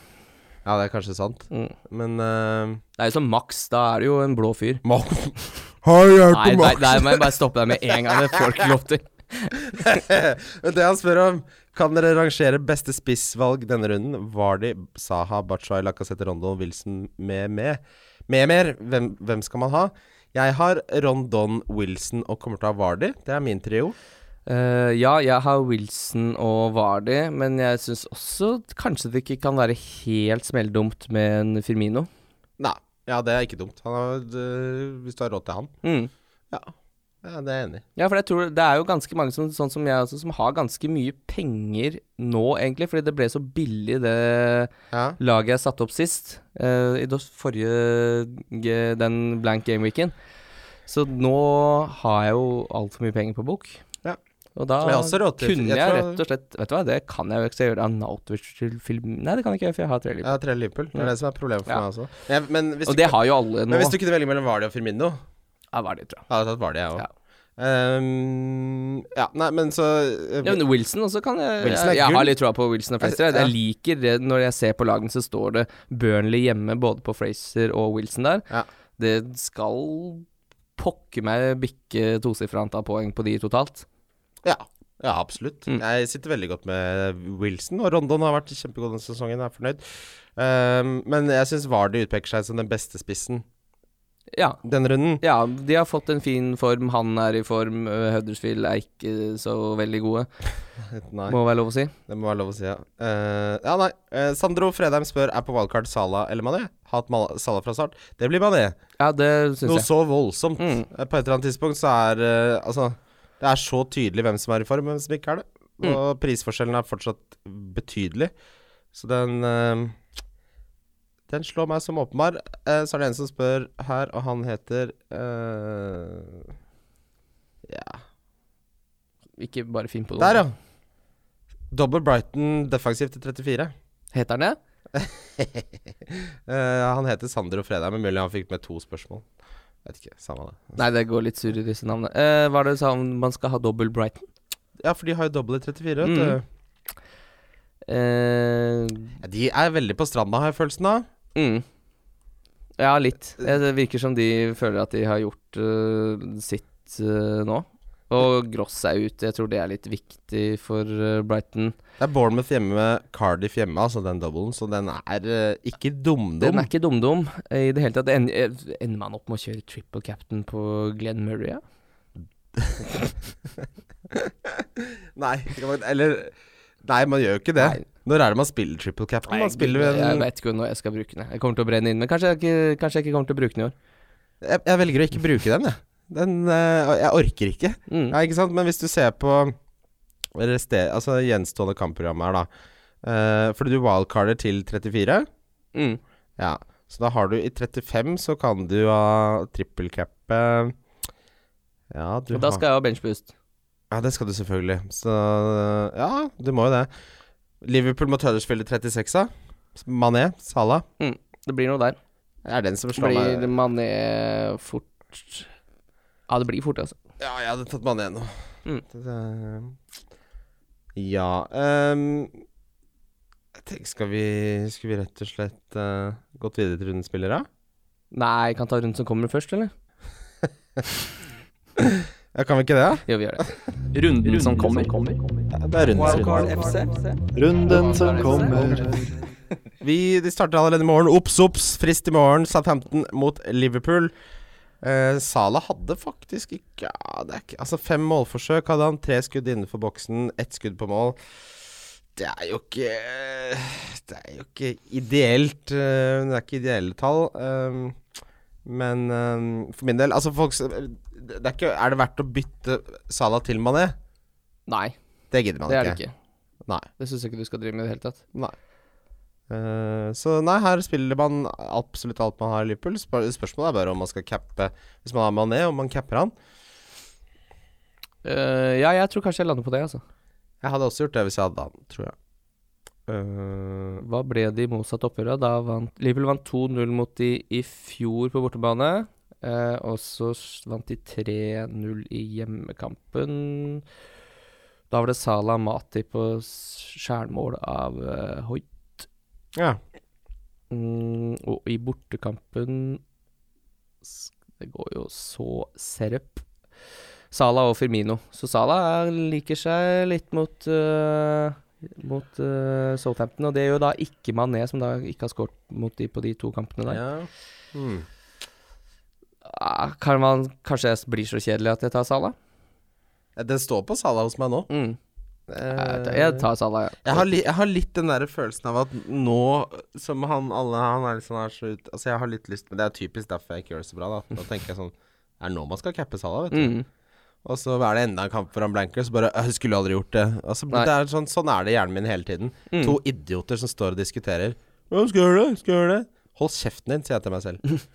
Ja, det er kanskje sant,
Mm.
men eh,
Det er jo som Max, da er det jo en blå fyr.
Har jeg
Nei, nei, nei, må jeg bare stoppe deg med en gang. Det får du ikke lov til.
Men det han spør om Kan dere rangere beste spissvalg denne runden? Vardi, Saha, Bachoi, Lacassette, Rondon, Wilson med med Med mer, hvem, hvem skal man ha? Jeg har Rondon, Wilson og kommer til å ha Vardi. Det er min trio.
Eh, ja, jeg har Wilson og Vardy, men jeg syns også kanskje det ikke kan være helt smelldumt med en Firmino.
Nei, ja, det er ikke dumt. Han har, øh, hvis du har råd til han.
Mm.
Ja, ja det er jeg enig i.
Ja, for jeg tror det er jo ganske mange som, sånn som jeg også, som har ganske mye penger nå, egentlig, fordi det ble så billig det
Ja.
laget jeg satte opp sist, eh, i dos- forrige g- den blank game-weeken. Så nå har jeg jo altfor mye penger på bok.
Ja.
Og da
Jeg har også råd til-
kunne jeg,
jeg tror-
rett og slett Vet du hva, det kan jeg jo ikke. Skal jeg gjøre det av Nautovic til film? Nei, det kan jeg ikke, for jeg har tre liv.
Jeg har tre Liverpool. Det er
Ja.
det som er problemet for
Ja.
meg også. Men, jeg- men, hvis
Og
du,
det har jo alle nå.
men hvis du kunne velge mellom Vardi og Firmino
Ja, hva er det, tror jeg.
Jeg hadde tatt Vardi, jeg òg.
Ja.
Ja. ja, nei, men så øh,
Ja, men Wilson også kan jeg
Wilson er
Jeg, jeg har
gull. Altså,
litt troa på Wilson og Fraser. Jeg,
Ja.
jeg liker det når jeg ser på lagene, så står det Burnley hjemme både på Fraser og Wilson der.
Ja.
Det skal pokker meg bikke tosifra antall poeng på de totalt.
Ja, ja absolutt.
Mm.
Jeg sitter veldig godt med Wilson, og Rondon har vært kjempegod denne sesongen, jeg er fornøyd. Ehm, men jeg syns Vardy utpeker seg som den beste spissen
Ja.
denne runden.
ja, de har fått en fin form. Han er i form. øh, Huddersfield er ikke så veldig gode,
Nei,
må være lov å si.
det må være lov å si, ja. Eh, ja, nei. eh, Sandro Fredheim spør er på wildcard Sala eller Mané. Hat Mal- Sala fra start. Det blir Mané.
Ja, det
Noe
syns jeg.
så voldsomt.
Mm.
Eh, På et eller annet tidspunkt så er eh, Altså, det er så tydelig hvem som er i form, og hvem som ikke er det.
Mm.
Og prisforskjellen er fortsatt betydelig. Så den eh, Den slår meg som åpenbar. Eh, så er det en som spør her, og han heter eh, Ja
Ikke bare finn på noe.
Der, ja. Double Brighton defensivt til 34.
Heter han det?
Eh, han heter Sander og Fredheim, men mulig han fikk med to spørsmål. Vet ikke, samme det.
Nei, det går litt surr i disse navnene. Eh, hva er det du sa om man skal ha dobbel Brighton?
Ja, for de har jo double i 34, vet
Mm.
du.
Eh,
Ja, De er veldig på stranda, har jeg følelsen av.
Mm. Ja, litt. Eh, Det virker som de føler at de har gjort eh, sitt eh, nå. Og Gross er ute. Jeg tror det er litt viktig for eh, Brighton.
Det er Bournemouth hjemme, Cardiff hjemme, altså den doublen, så den er eh, ikke
Den
dumdum.
er ikke dumdum eh, i det hele tatt. En- eh, Ender man opp med å kjøre triple captain på Glenn Murray? Ja?
Nei, det kan man- eller Nei, man gjør jo ikke det.
Nei.
Når er det man spiller triple cap? Man spiller jo
jeg
en jeg,
vet ikke når jeg skal bruke den. Jeg kommer til å brenne inn, men kanskje jeg ikke, kanskje jeg ikke kommer til å bruke den i år.
jeg velger å ikke bruke den, jeg. Den eh, Jeg orker ikke.
Mm.
Ja, ikke sant? Men hvis du ser på reste, altså gjenstående kampprogram her, da. Uh, fordi du wildcarder til 34.
Mm.
Ja, så da har du i 35 så kan du ha triple cap eh, Ja, du
Og da
har
skal jeg ha benchboost.
Ja, det skal du selvfølgelig. Så ja, du må jo det. Liverpool mot Huddersfield i 36, da. Mané, Salah.
Det blir noe der.
Det er den som slår meg.
Blir Mané fort Ja, det blir fort, altså.
Ja, jeg hadde tatt Mané nå.
Mm.
Det- det- Ja ehm, Jeg tenker, skal vi, skal vi rett og slett eh, gått videre til rundens spillere?
Nei, kan ta runden som kommer først, eller?
Ja, kan vi ikke det?
Jo, vi gjør det.
Runden som kommer.
Ja, det er rundens spillere.
Wildcard FC.
Runden som kommer.
Vi, de starter allerede i morgen. Ops, ops! Frist i morgen. Southampton mot Liverpool. Eh, Salah hadde faktisk ikke, ja, det er ikke Altså Fem målforsøk hadde han. Tre skudd innenfor boksen, ett skudd på mål. Det er jo ikke Det er jo ikke ideelt. eh, Det er ikke ideelle tall. eh, men eh, for min del Altså, folk s- det er, ikke, er det verdt å bytte Salah til Mané?
Nei,
Det gidder man
det
ikke.
er det ikke.
Nei.
Det syns jeg ikke du skal drive med i det hele tatt.
Nei. Eh, så nei, her spiller man absolutt alt man har i Liverpool. Spør spørsmålet er bare om man skal cappe Hvis man har Mané, om man capper han.
Eh, ja, jeg tror kanskje jeg lander på det, altså.
Jeg hadde også gjort det hvis jeg hadde han, tror jeg. Eh,
Hva ble det i motsatt oppgjør? da? Da vant Liverpool vant 2-0 mot de i fjor på bortebane. eh, og så s- vant de 3-0 i hjemmekampen. Da var det Salah Mati på skjærmål av eh, Hoi.
ja.
Mm, og i bortekampen s- Det går jo så serup. Salah og Firmino. Så Salah er- liker seg litt mot eh, mot eh, Southampton, og det gjør da ikke Mané, som da ikke har skåret mot de på de to kampene der.
Ja. Mm.
Ah, kan man, kanskje jeg blir så kjedelig at jeg tar Salah?
Den Eh, står på Sala hos meg nå.
Mm. Jeg tar-
Eh,
Jeg tar Salah, ja.
Jeg har, li, jeg har litt den der følelsen av at nå som han alle Han er liksom er så ut Altså, jeg har litt lyst Men det er typisk derfor jeg ikke gjør det så bra, da. Da tenker jeg sånn Er det nå man skal cappe Salah, vet du?
Mm.
Og så er det enda en kamp for han blanker, så bare «Øh, Skulle aldri gjort det. Altså,
Nei. Mm.
det er sånn, sånn er det i hjernen min hele tiden. To idioter som står og diskuterer. «Ja, skal jeg gjøre det? Skal jeg gjøre det? Hold kjeften din, sier jeg til meg selv.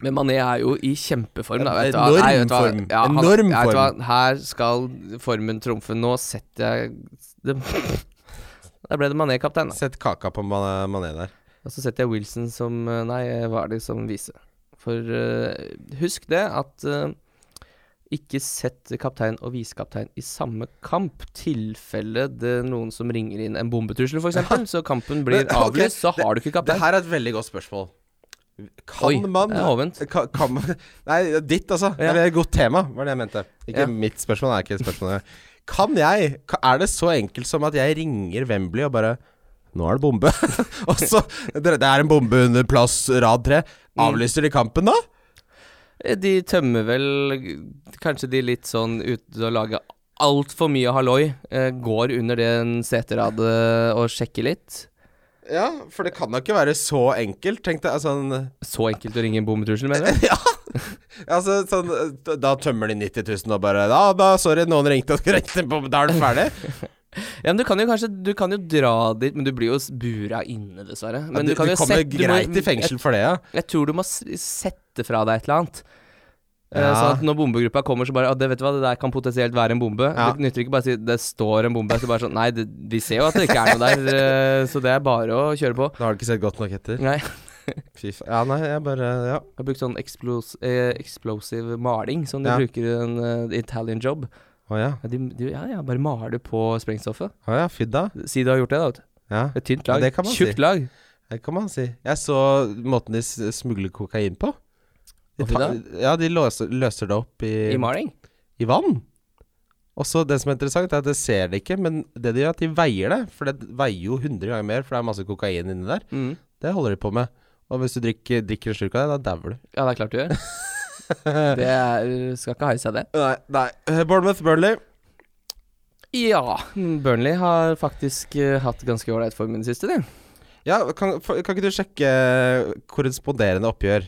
Men Mané er jo i kjempeform. Da, vet du.
Enorm
hva? Nei, vet du hva?
form.
Ja, han,
Enorm
vet du
form.
Hva? Her skal formen trumfe. Nå setter jeg det. Da ble det Mané-kaptein. da.
Sett kaka på Ma- Mané der.
Og så setter jeg Wilson som eh, Nei, hva er det som vise? For eh, husk det at eh, ikke sett kaptein og visekaptein i samme kamp. Tilfelle det er noen som ringer inn en bombetrussel, f.eks., så kampen blir
Men, ok,
avlyst, så har du ikke
Det
kaptein.
her er et veldig godt spørsmål. Kan
Oi,
man
det er hovent.
Kan, kan man Nei, ditt, altså.
Ja.
Eller godt tema, var det jeg mente. Ikke
Ja.
mitt spørsmål, det er ikke et spørsmål. Kan jeg ka- Er det så enkelt som at jeg ringer Wembley og bare Nå er det bombe. og så Det det er en bombe under plass rad tre. Avlyser de kampen da?
Eh, De tømmer vel g- kanskje de litt sånn ute og lager altfor mye halloi. Eh, går under den seteradet og sjekker litt.
Ja, for det kan da ikke være så enkelt, tenkte jeg. Sånn
Så enkelt å ringe en bombetrussel, mener du?
Ja! Altså, sånn, eh, da tømmer de 90 000 og bare Ja, da, sorry, noen ringte og ringte på, da er du ferdig.
Ja, men du kan jo kanskje Du kan jo dra dit, men du blir jo s- bura inne, dessverre. Men
Men du, du,
kan jo
kommer
sette- du må-
greit i fengsel for det, ja.
Jeg, jeg tror du må s- sette fra deg et eller annet. Eh,
Ja.
Sånn at når bombegruppa kommer, så bare «Å, det, vet du hva, det der kan potensielt være en bombe.
Ja.
Det nytter ikke bare å si 'det står en bombe'. Så bare sånn Nei, det, vi ser jo at det ikke er noe der, eh, så det er bare å kjøre på.
Da har du ikke sett godt nok etter.
Nei.
Fy faen. Ja, nei, jeg bare Ja.
Jeg har brukt sånn explos eh, explosive maling, som de
Ja.
bruker i en eh, Italian job.
Å ja.
Ja, de, de, ja, ja, bare maler på sprengstoffet.
Å ja, fidda.
Si du har gjort det, da. vet du.
Ja,
Et tynt
Ja,
lag.
det kan man si.
Tjukt lag.
det kan man si. Jeg så måten de s- smugler kokain på. De
Og fidda?
ja, de løser, løser det opp i,
I maling.
i vann. Og så det som er interessant, er at jeg ser det ikke, men det de gjør, er at de veier det. For det veier jo 100 ganger mer, for det er masse kokain inni der.
Mm.
Det holder de på med. Og hvis du drikker, drikker en slurk av det, da dauer du.
Ja, det er klart du gjør. Det er, skal ikke heie seg, det.
Nei, nei. Bournemouth-Burnley.
Ja, Mm, Burnley har faktisk eh, hatt ganske ålreit form i det siste, de.
Ja, kan, kan ikke du sjekke eh, korresponderende oppgjør?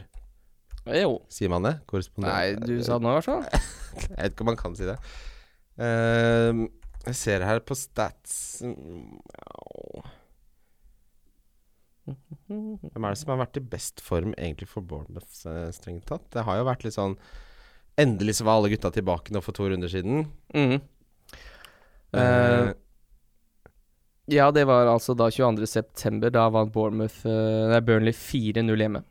Jo.
Sier man det? Korrespondent?
Nei, du sa det nå, i hvert fall.
Jeg vet ikke om man kan si det. Ehm, jeg ser her på stats mm, au. Hvem er det som har vært i best form egentlig for Bournemouth, eh, strengt tatt? Det har jo vært litt sånn Endelig så var alle gutta tilbake nå for to runder siden.
Mm. Eh,
Eh,
ja, det var altså da 22.9. Da vant Bournemouth eh, Nei, Burnley 4-0 hjemme.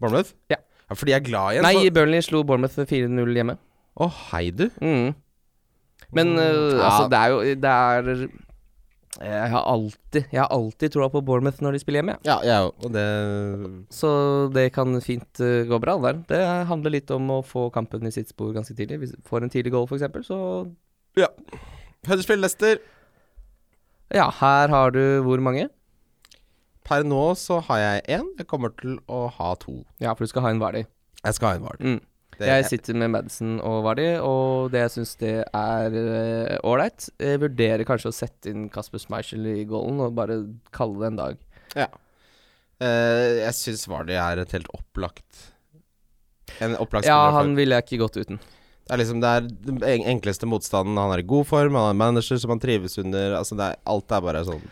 Bournemouth?
ja.
ja. Fordi jeg er glad i en
Nei,
sånn-
Burnley slo Bournemouth 4-0 hjemme.
Å, hei, du.
Mm. Men eh,
Mm. Ja.
altså, det er jo Det er eh, Jeg har alltid Jeg har alltid troa på Bournemouth når de spiller hjemme, jeg.
Ja, jeg òg. Og det
Så det kan fint eh, gå bra der. Det handler litt om å få kampen i sitt spor ganske tidlig. Hvis du får en tidlig goal, f.eks., så
Ja. Huddersfield Leicester.
Ja, her har du hvor mange?
Per nå så har jeg én. Jeg kommer til å ha to.
Ja, for du skal ha en Vardy.
Jeg skal ha en var.
Mm.
Det-
Jeg sitter med Madison og Vardy, og det jeg syns det er eh, ålreit. Jeg vurderer kanskje å sette inn Kasper Schmeichel i goalen og bare kalle det en dag.
Ja. Eh, jeg syns Vardy er et helt opplagt En opplagt
Ja,
spiller.
han
for-
ville jeg ikke gått uten.
Det er liksom det er den en- enkleste motstanden. Han er i god form, han er en manager som han trives under. Altså det er, alt er bare sånn.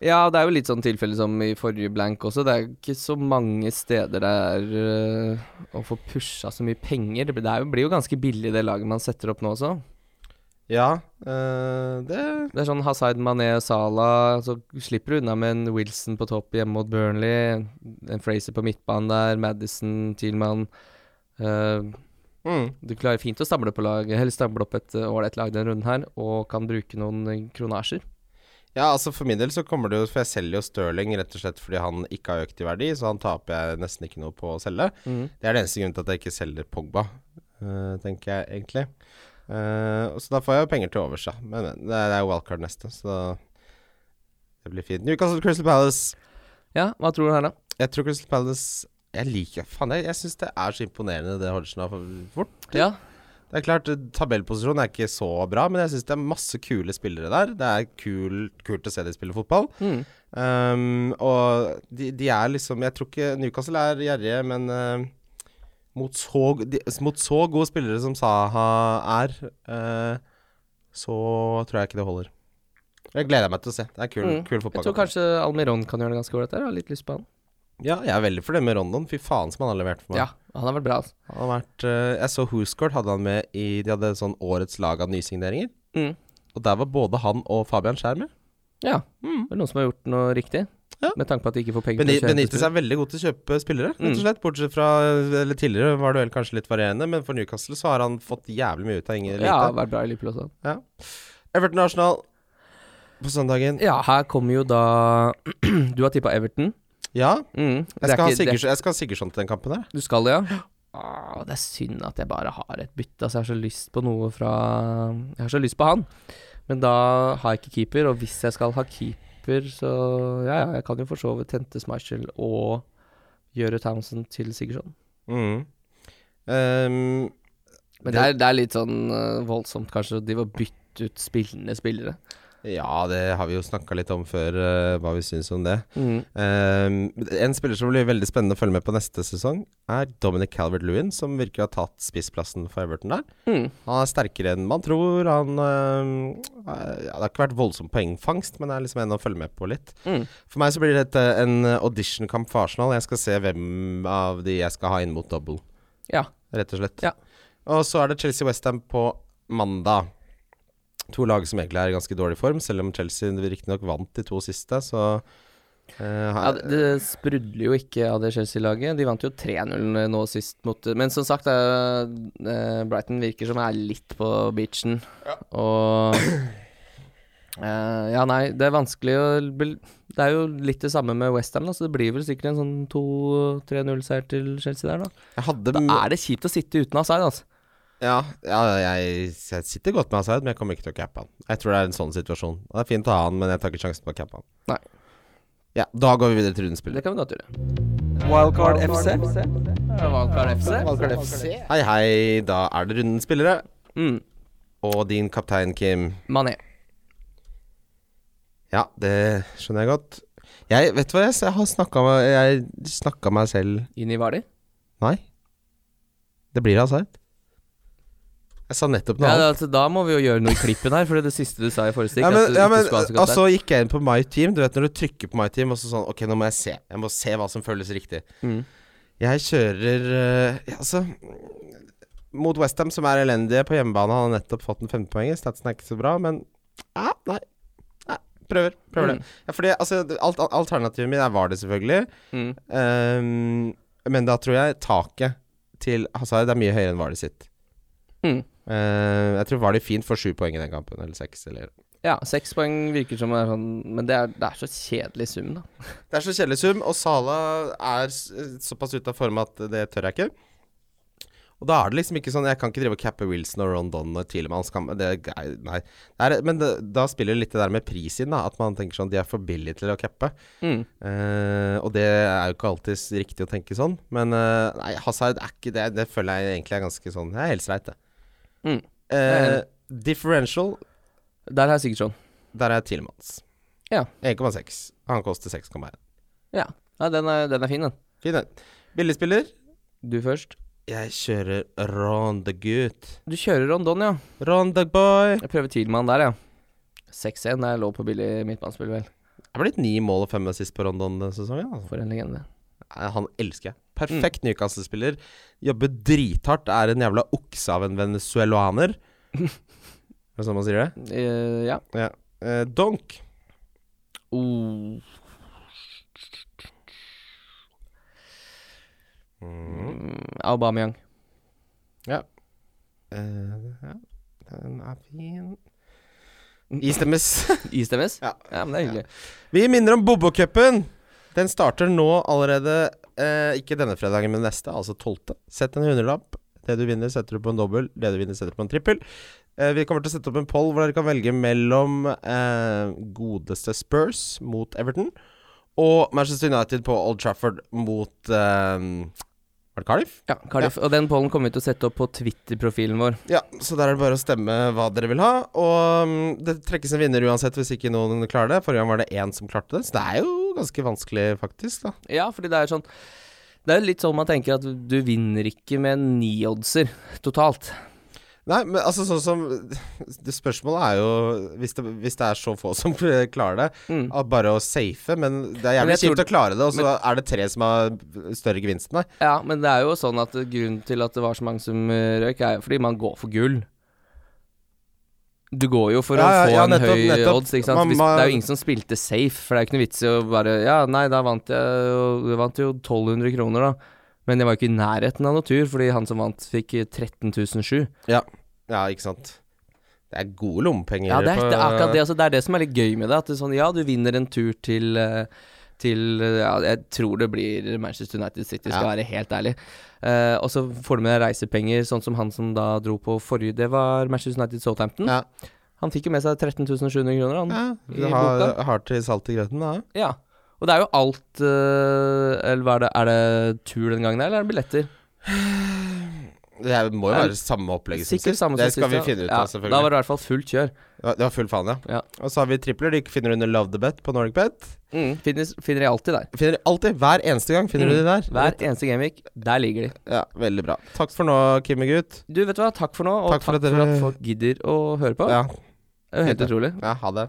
Ja, det er jo litt sånn tilfelle som i forrige blank også. Det er jo ikke så mange steder det er øh, å få pusha så mye penger. Det blir- det er jo, blir jo ganske billig det laget man setter opp nå også.
Ja, eh, det
Det er sånn Hazard, Mané, Salah Så slipper du unna med en Wilson på topp hjemme mot Burnley. En Fraser på midtbanen der, Madison, Thielmann. Eh,
mm.
du klarer fint å stable, på lag, eller stable opp et øh, ålreit lag denne runden her, og kan bruke noen øh, kronasjer.
Ja, altså for min del så kommer det jo For jeg selger jo Stirling rett og slett fordi han ikke har økt i verdi, så han taper jeg nesten ikke noe på å selge. Det er den eneste grunnen til at jeg ikke selger Pogba. Eh, eh, tenker jeg egentlig. Eh, og så da får jeg jo penger til overs, da. Men men, det er det er wildcard neste, så da- det blir fint. Newcastle Crystal Palace.
Ja, hva tror du her, da?
Jeg tror Crystal Palace Jeg liker Faen, jeg, jeg syns det er så imponerende det Hodgson har fått.
Ja,
Det er klart, tabellposisjonen er ikke så bra, men jeg syns det er masse kule spillere der. Det er kul, kult å se de spille fotball.
Mm.
Um, og de, de er liksom Jeg tror ikke Newcastle er gjerrige, men eh, mot, så, g- de, mot så gode spillere som Saha er, eh, så tror jeg ikke det holder. Jeg gleder meg til å se. Det er kul,
Mm.
kul
jeg
fotball.
tror kanskje Almiron kan gjøre det ganske ålreit her. Jeg har litt lyst på han.
Ja, jeg er veldig fornøyd med Rondon. Fy faen som han har levert for meg.
Ja, han har vært bra, altså.
Han har vært, eh, jeg så Hooscourt hadde han med i De hadde sånn årets lag av nysigneringer.
Mm.
Og der var både han og Fabian Skjær med.
Ja. Det er noen som har gjort noe riktig,
Ja.
med tanke på at de ikke får penger.
Beni-
til å kjøpe
Benitez
spillere.
er veldig god til å kjøpe spillere, rett
Mm.
og slett. Bortsett fra Eller tidligere var det vel kanskje litt varierende, men for Newcastle så har han fått jævlig mye ut av ingen
Ja,
elite.
vært bra i Liverpool også.
Everton Arsenal på søndagen.
Ja, her kommer jo da Du har tippa Everton.
Ja,
Mm. det er
jeg skal, ha
ikke- det er-
Sigurds- jeg skal ha Sigurdsson til den kampen der.
Du skal det, ja? Åh, det er synd at jeg bare har et bytte. Altså, jeg har så lyst på noe fra Jeg har så lyst på han, men da har jeg ikke keeper. Og hvis jeg skal ha keeper, så Ja, ja, jeg kan jo for så vidt hente Schmeichel og gjøre Townsend til Sigurdsson.
Mm. Ehm,
Men
Det-
det er, det er litt sånn eh, voldsomt, kanskje, å drive og bytte ut spillende spillere.
ja, det har vi jo snakka litt om før, eh, hva vi syns om det.
Mm.
Ehm, en spiller som blir veldig spennende å følge med på neste sesong, er Dominic Calvert-Lewin, som virker å ha tatt spissplassen for Everton der.
Mm.
Han er sterkere enn man tror. Han ehm, er- ja, Det har ikke vært voldsom poengfangst, men det er liksom en å følge med på litt.
Mm.
For meg så blir dette en eh, auditionkamp for Arsenal. Jeg skal se hvem av de jeg skal ha inn mot double,
Ja.
rett og slett.
Ja.
Og så er det Chelsea-Westham på mandag. To lag som egentlig er i ganske dårlig form, selv om Chelsea riktignok vant de to siste, så eh,
Ja, det, det sprudler jo ikke av det Chelsea-laget. De vant jo 3-0 nå sist mot Men som sagt, eh, eh, Brighton virker som er litt på beachen. Og eh, Ja, nei, det er vanskelig å bel- Det er jo litt det samme med Westham, så det blir vel sikkert en sånn 2-3-0-seier til Chelsea der, da.
Jeg hadde
Da er det kjipt å sitte uten offside, altså.
Ja, ja jeg, jeg sitter godt med Hazard, men jeg kommer ikke til å cappe han. Jeg tror det er en sånn situasjon. Det er fint å ha han, men jeg tar ikke sjansen på å cappe han.
Nei.
Ja, da går vi videre til rundens
Det
spiller.
kan vi godt gjøre.
Wildcard FC.
Valkar FC.
Hei, hei, da er det rundens spillere.
Mm,
Og din kaptein, Kim.
Mané.
Ja, det skjønner jeg godt. Jeg vet du hva jeg, s- jeg har snakka meg Jeg snakka meg selv
Inn i Vali.
Nei. Det blir Hazard. Jeg sa nettopp noe
Ja,
annet.
altså, da må vi jo gjøre noe i klippen her, for det, er det siste du sa i forrige stikk
Ja,
at
men,
du
ja,
ikke
men altså-
skulle ha så
og
godt der.
så gikk jeg inn på My Team. Du vet når du trykker på My Team, og så sånn Ok, nå må jeg se. Jeg må se hva som føles riktig.
Mm.
Jeg kjører eh, ja, Altså Mot Westham, som er elendige på hjemmebane, han har nettopp fått en femtepoenger. Statsen er ikke så bra, men ja, nei. nei. Prøver. Prøver det. Ja, fordi altså, det- alt, al- Alternativet mitt er var det, selvfølgelig.
Mm.
Ehm, men da tror jeg taket til Hazard er mye høyere enn var det sitt.
Mm.
Ehm, jeg tror var det fint for sju poeng i den kampen, eller seks, eller
Ja, seks poeng virker som er sånn Men det er, det er så kjedelig sum, da.
Det er så kjedelig sum, og Sala er s- såpass ute av form at det tør jeg ikke. Og da er det liksom ikke sånn Jeg kan ikke drive og cappe Wilson og Rondon og Tielemann. Skam- det er- Nei. Det er, men det, da spiller litt det der med pris inn, da. At man tenker sånn De er for billige til å cappe.
Mm.
Eh, og det er jo ikke alltid s- riktig å tenke sånn. Men eh, nei, Hazard er ikke det. Det føler jeg egentlig er ganske sånn Det er helt streit, det.
Mm.
Eh, differential,
Der har jeg sånn. Sigurdsson.
der er Tielemanns.
Ja.
1,6. Han koster 6,1.
Ja. ja den, er, den er fin, den.
Fin den. Billigspiller.
Du først.
Jeg kjører Ron the Gut.
Du kjører Rondon, ja.
Ron the Boy.
Jeg prøver Thielmann der, ja. 6-1 er lov på billig midtbanespill, vel.
Det er blitt ni mål og fem assist på Rondon denne sesongen. Altså.
For en legende.
Nei, Han elsker jeg. Perfekt Newcastle-spiller. Jobber drithardt. Er en jævla okse av en venezuelaner. Er det sånn man sier det?
Eh, ja.
Ja. Eh, donk.
Oh. Mm, Aubameyang.
Eh, ja. Den er fin. Istemmes.
Istemmes?
Ja.
men det er hyggelig.
Vi minner om Bobokupen. Den starter nå allerede, eh, ikke denne fredagen, men neste, altså 12. Sett en hundrelapp Det du vinner, setter du på en dobbel. Det du vinner, setter du på en trippel. Eh, vi kommer til å sette opp en poll hvor dere kan velge mellom eh, godeste Spurs mot Everton og Manchester United på Old Trafford mot eh, Var det Cardiff?
Ja, Cardiff. Og den pollen kommer vi til å sette opp på Twitter-profilen vår.
Ja, så der er det bare å stemme hva dere vil ha. Og mm, det trekkes en vinner uansett hvis ikke noen klarer det. Forrige gang var det én som klarte det, så det er jo ganske vanskelig, faktisk. da
Ja, fordi det er sånn Det er jo litt sånn man tenker at du vinner ikke med ni-oddser totalt.
Nei, men altså sånn som det Spørsmålet er jo, hvis det, hvis det er så få som klarer det,
Mm.
at bare å safe. Men det er
Men
jævlig
jeg tror-
kjipt å klare det, og så er det tre som har større gevinst enn deg.
Ja, men det er jo sånn at grunnen til at det var så mange som eh, røyk, er jo fordi man går for gull. Du går jo for
Ja, ja,
å få
ja,
en
nettopp,
høy
nettopp.
odds, ikke sant.
Man-
Hvis,
man-
det er jo ingen som spilte safe, for det er jo ikke noe vits i å bare Ja, nei, da vant jeg jo, jeg vant jo 1200 kroner, da. Men jeg var jo ikke i nærheten av noe tur, fordi han som vant, fikk 13.007.
Ja, ikke sant. Det er gode lommepenger.
Ja, det er,
på-
det er akkurat det.
eh.
Altså, det er det som er litt gøy med det. At det er sånn, ja, du vinner en tur til eh, til, eh, ja, Jeg tror det blir Manchester United City, skal
Ja.
være helt ærlig. Eh, og så får du med deg reisepenger, sånn som han som da dro på forrige Det var Manchester United Southampton.
Ja.
Han fikk jo med seg 13.700 kroner, han.
Ja,
I
du har,
boka.
har til salt i grøten, da.
Ja. Og det er jo alt eh, Eller hva er det, er det tur den gangen, eller er det billetter?
Det er- må jo
Er
være samme opplegget som
Sikkert
sist.
samme som
Det skal vi
sist, ja.
finne ut
Ja,
av, selvfølgelig.
Da var det i hvert fall fullt kjør.
Det var- Det var full faen, ja.
Ja.
Og så har vi tripler. De finner du under Love the Bet på Nordic Bet.
Mm, finner, finner jeg alltid der.
Finner alltid, Hver eneste gang finner du de der.
Mm. Hver eneste gameweek, der ligger de.
Ja, Veldig bra. Takk for nå, Kim og gutt.
Du, vet du hva, takk for nå, og takk for, at,
dere-
folk gidder å høre på.
Ja,
det er jo helt
fint,
utrolig.
ja, ha det.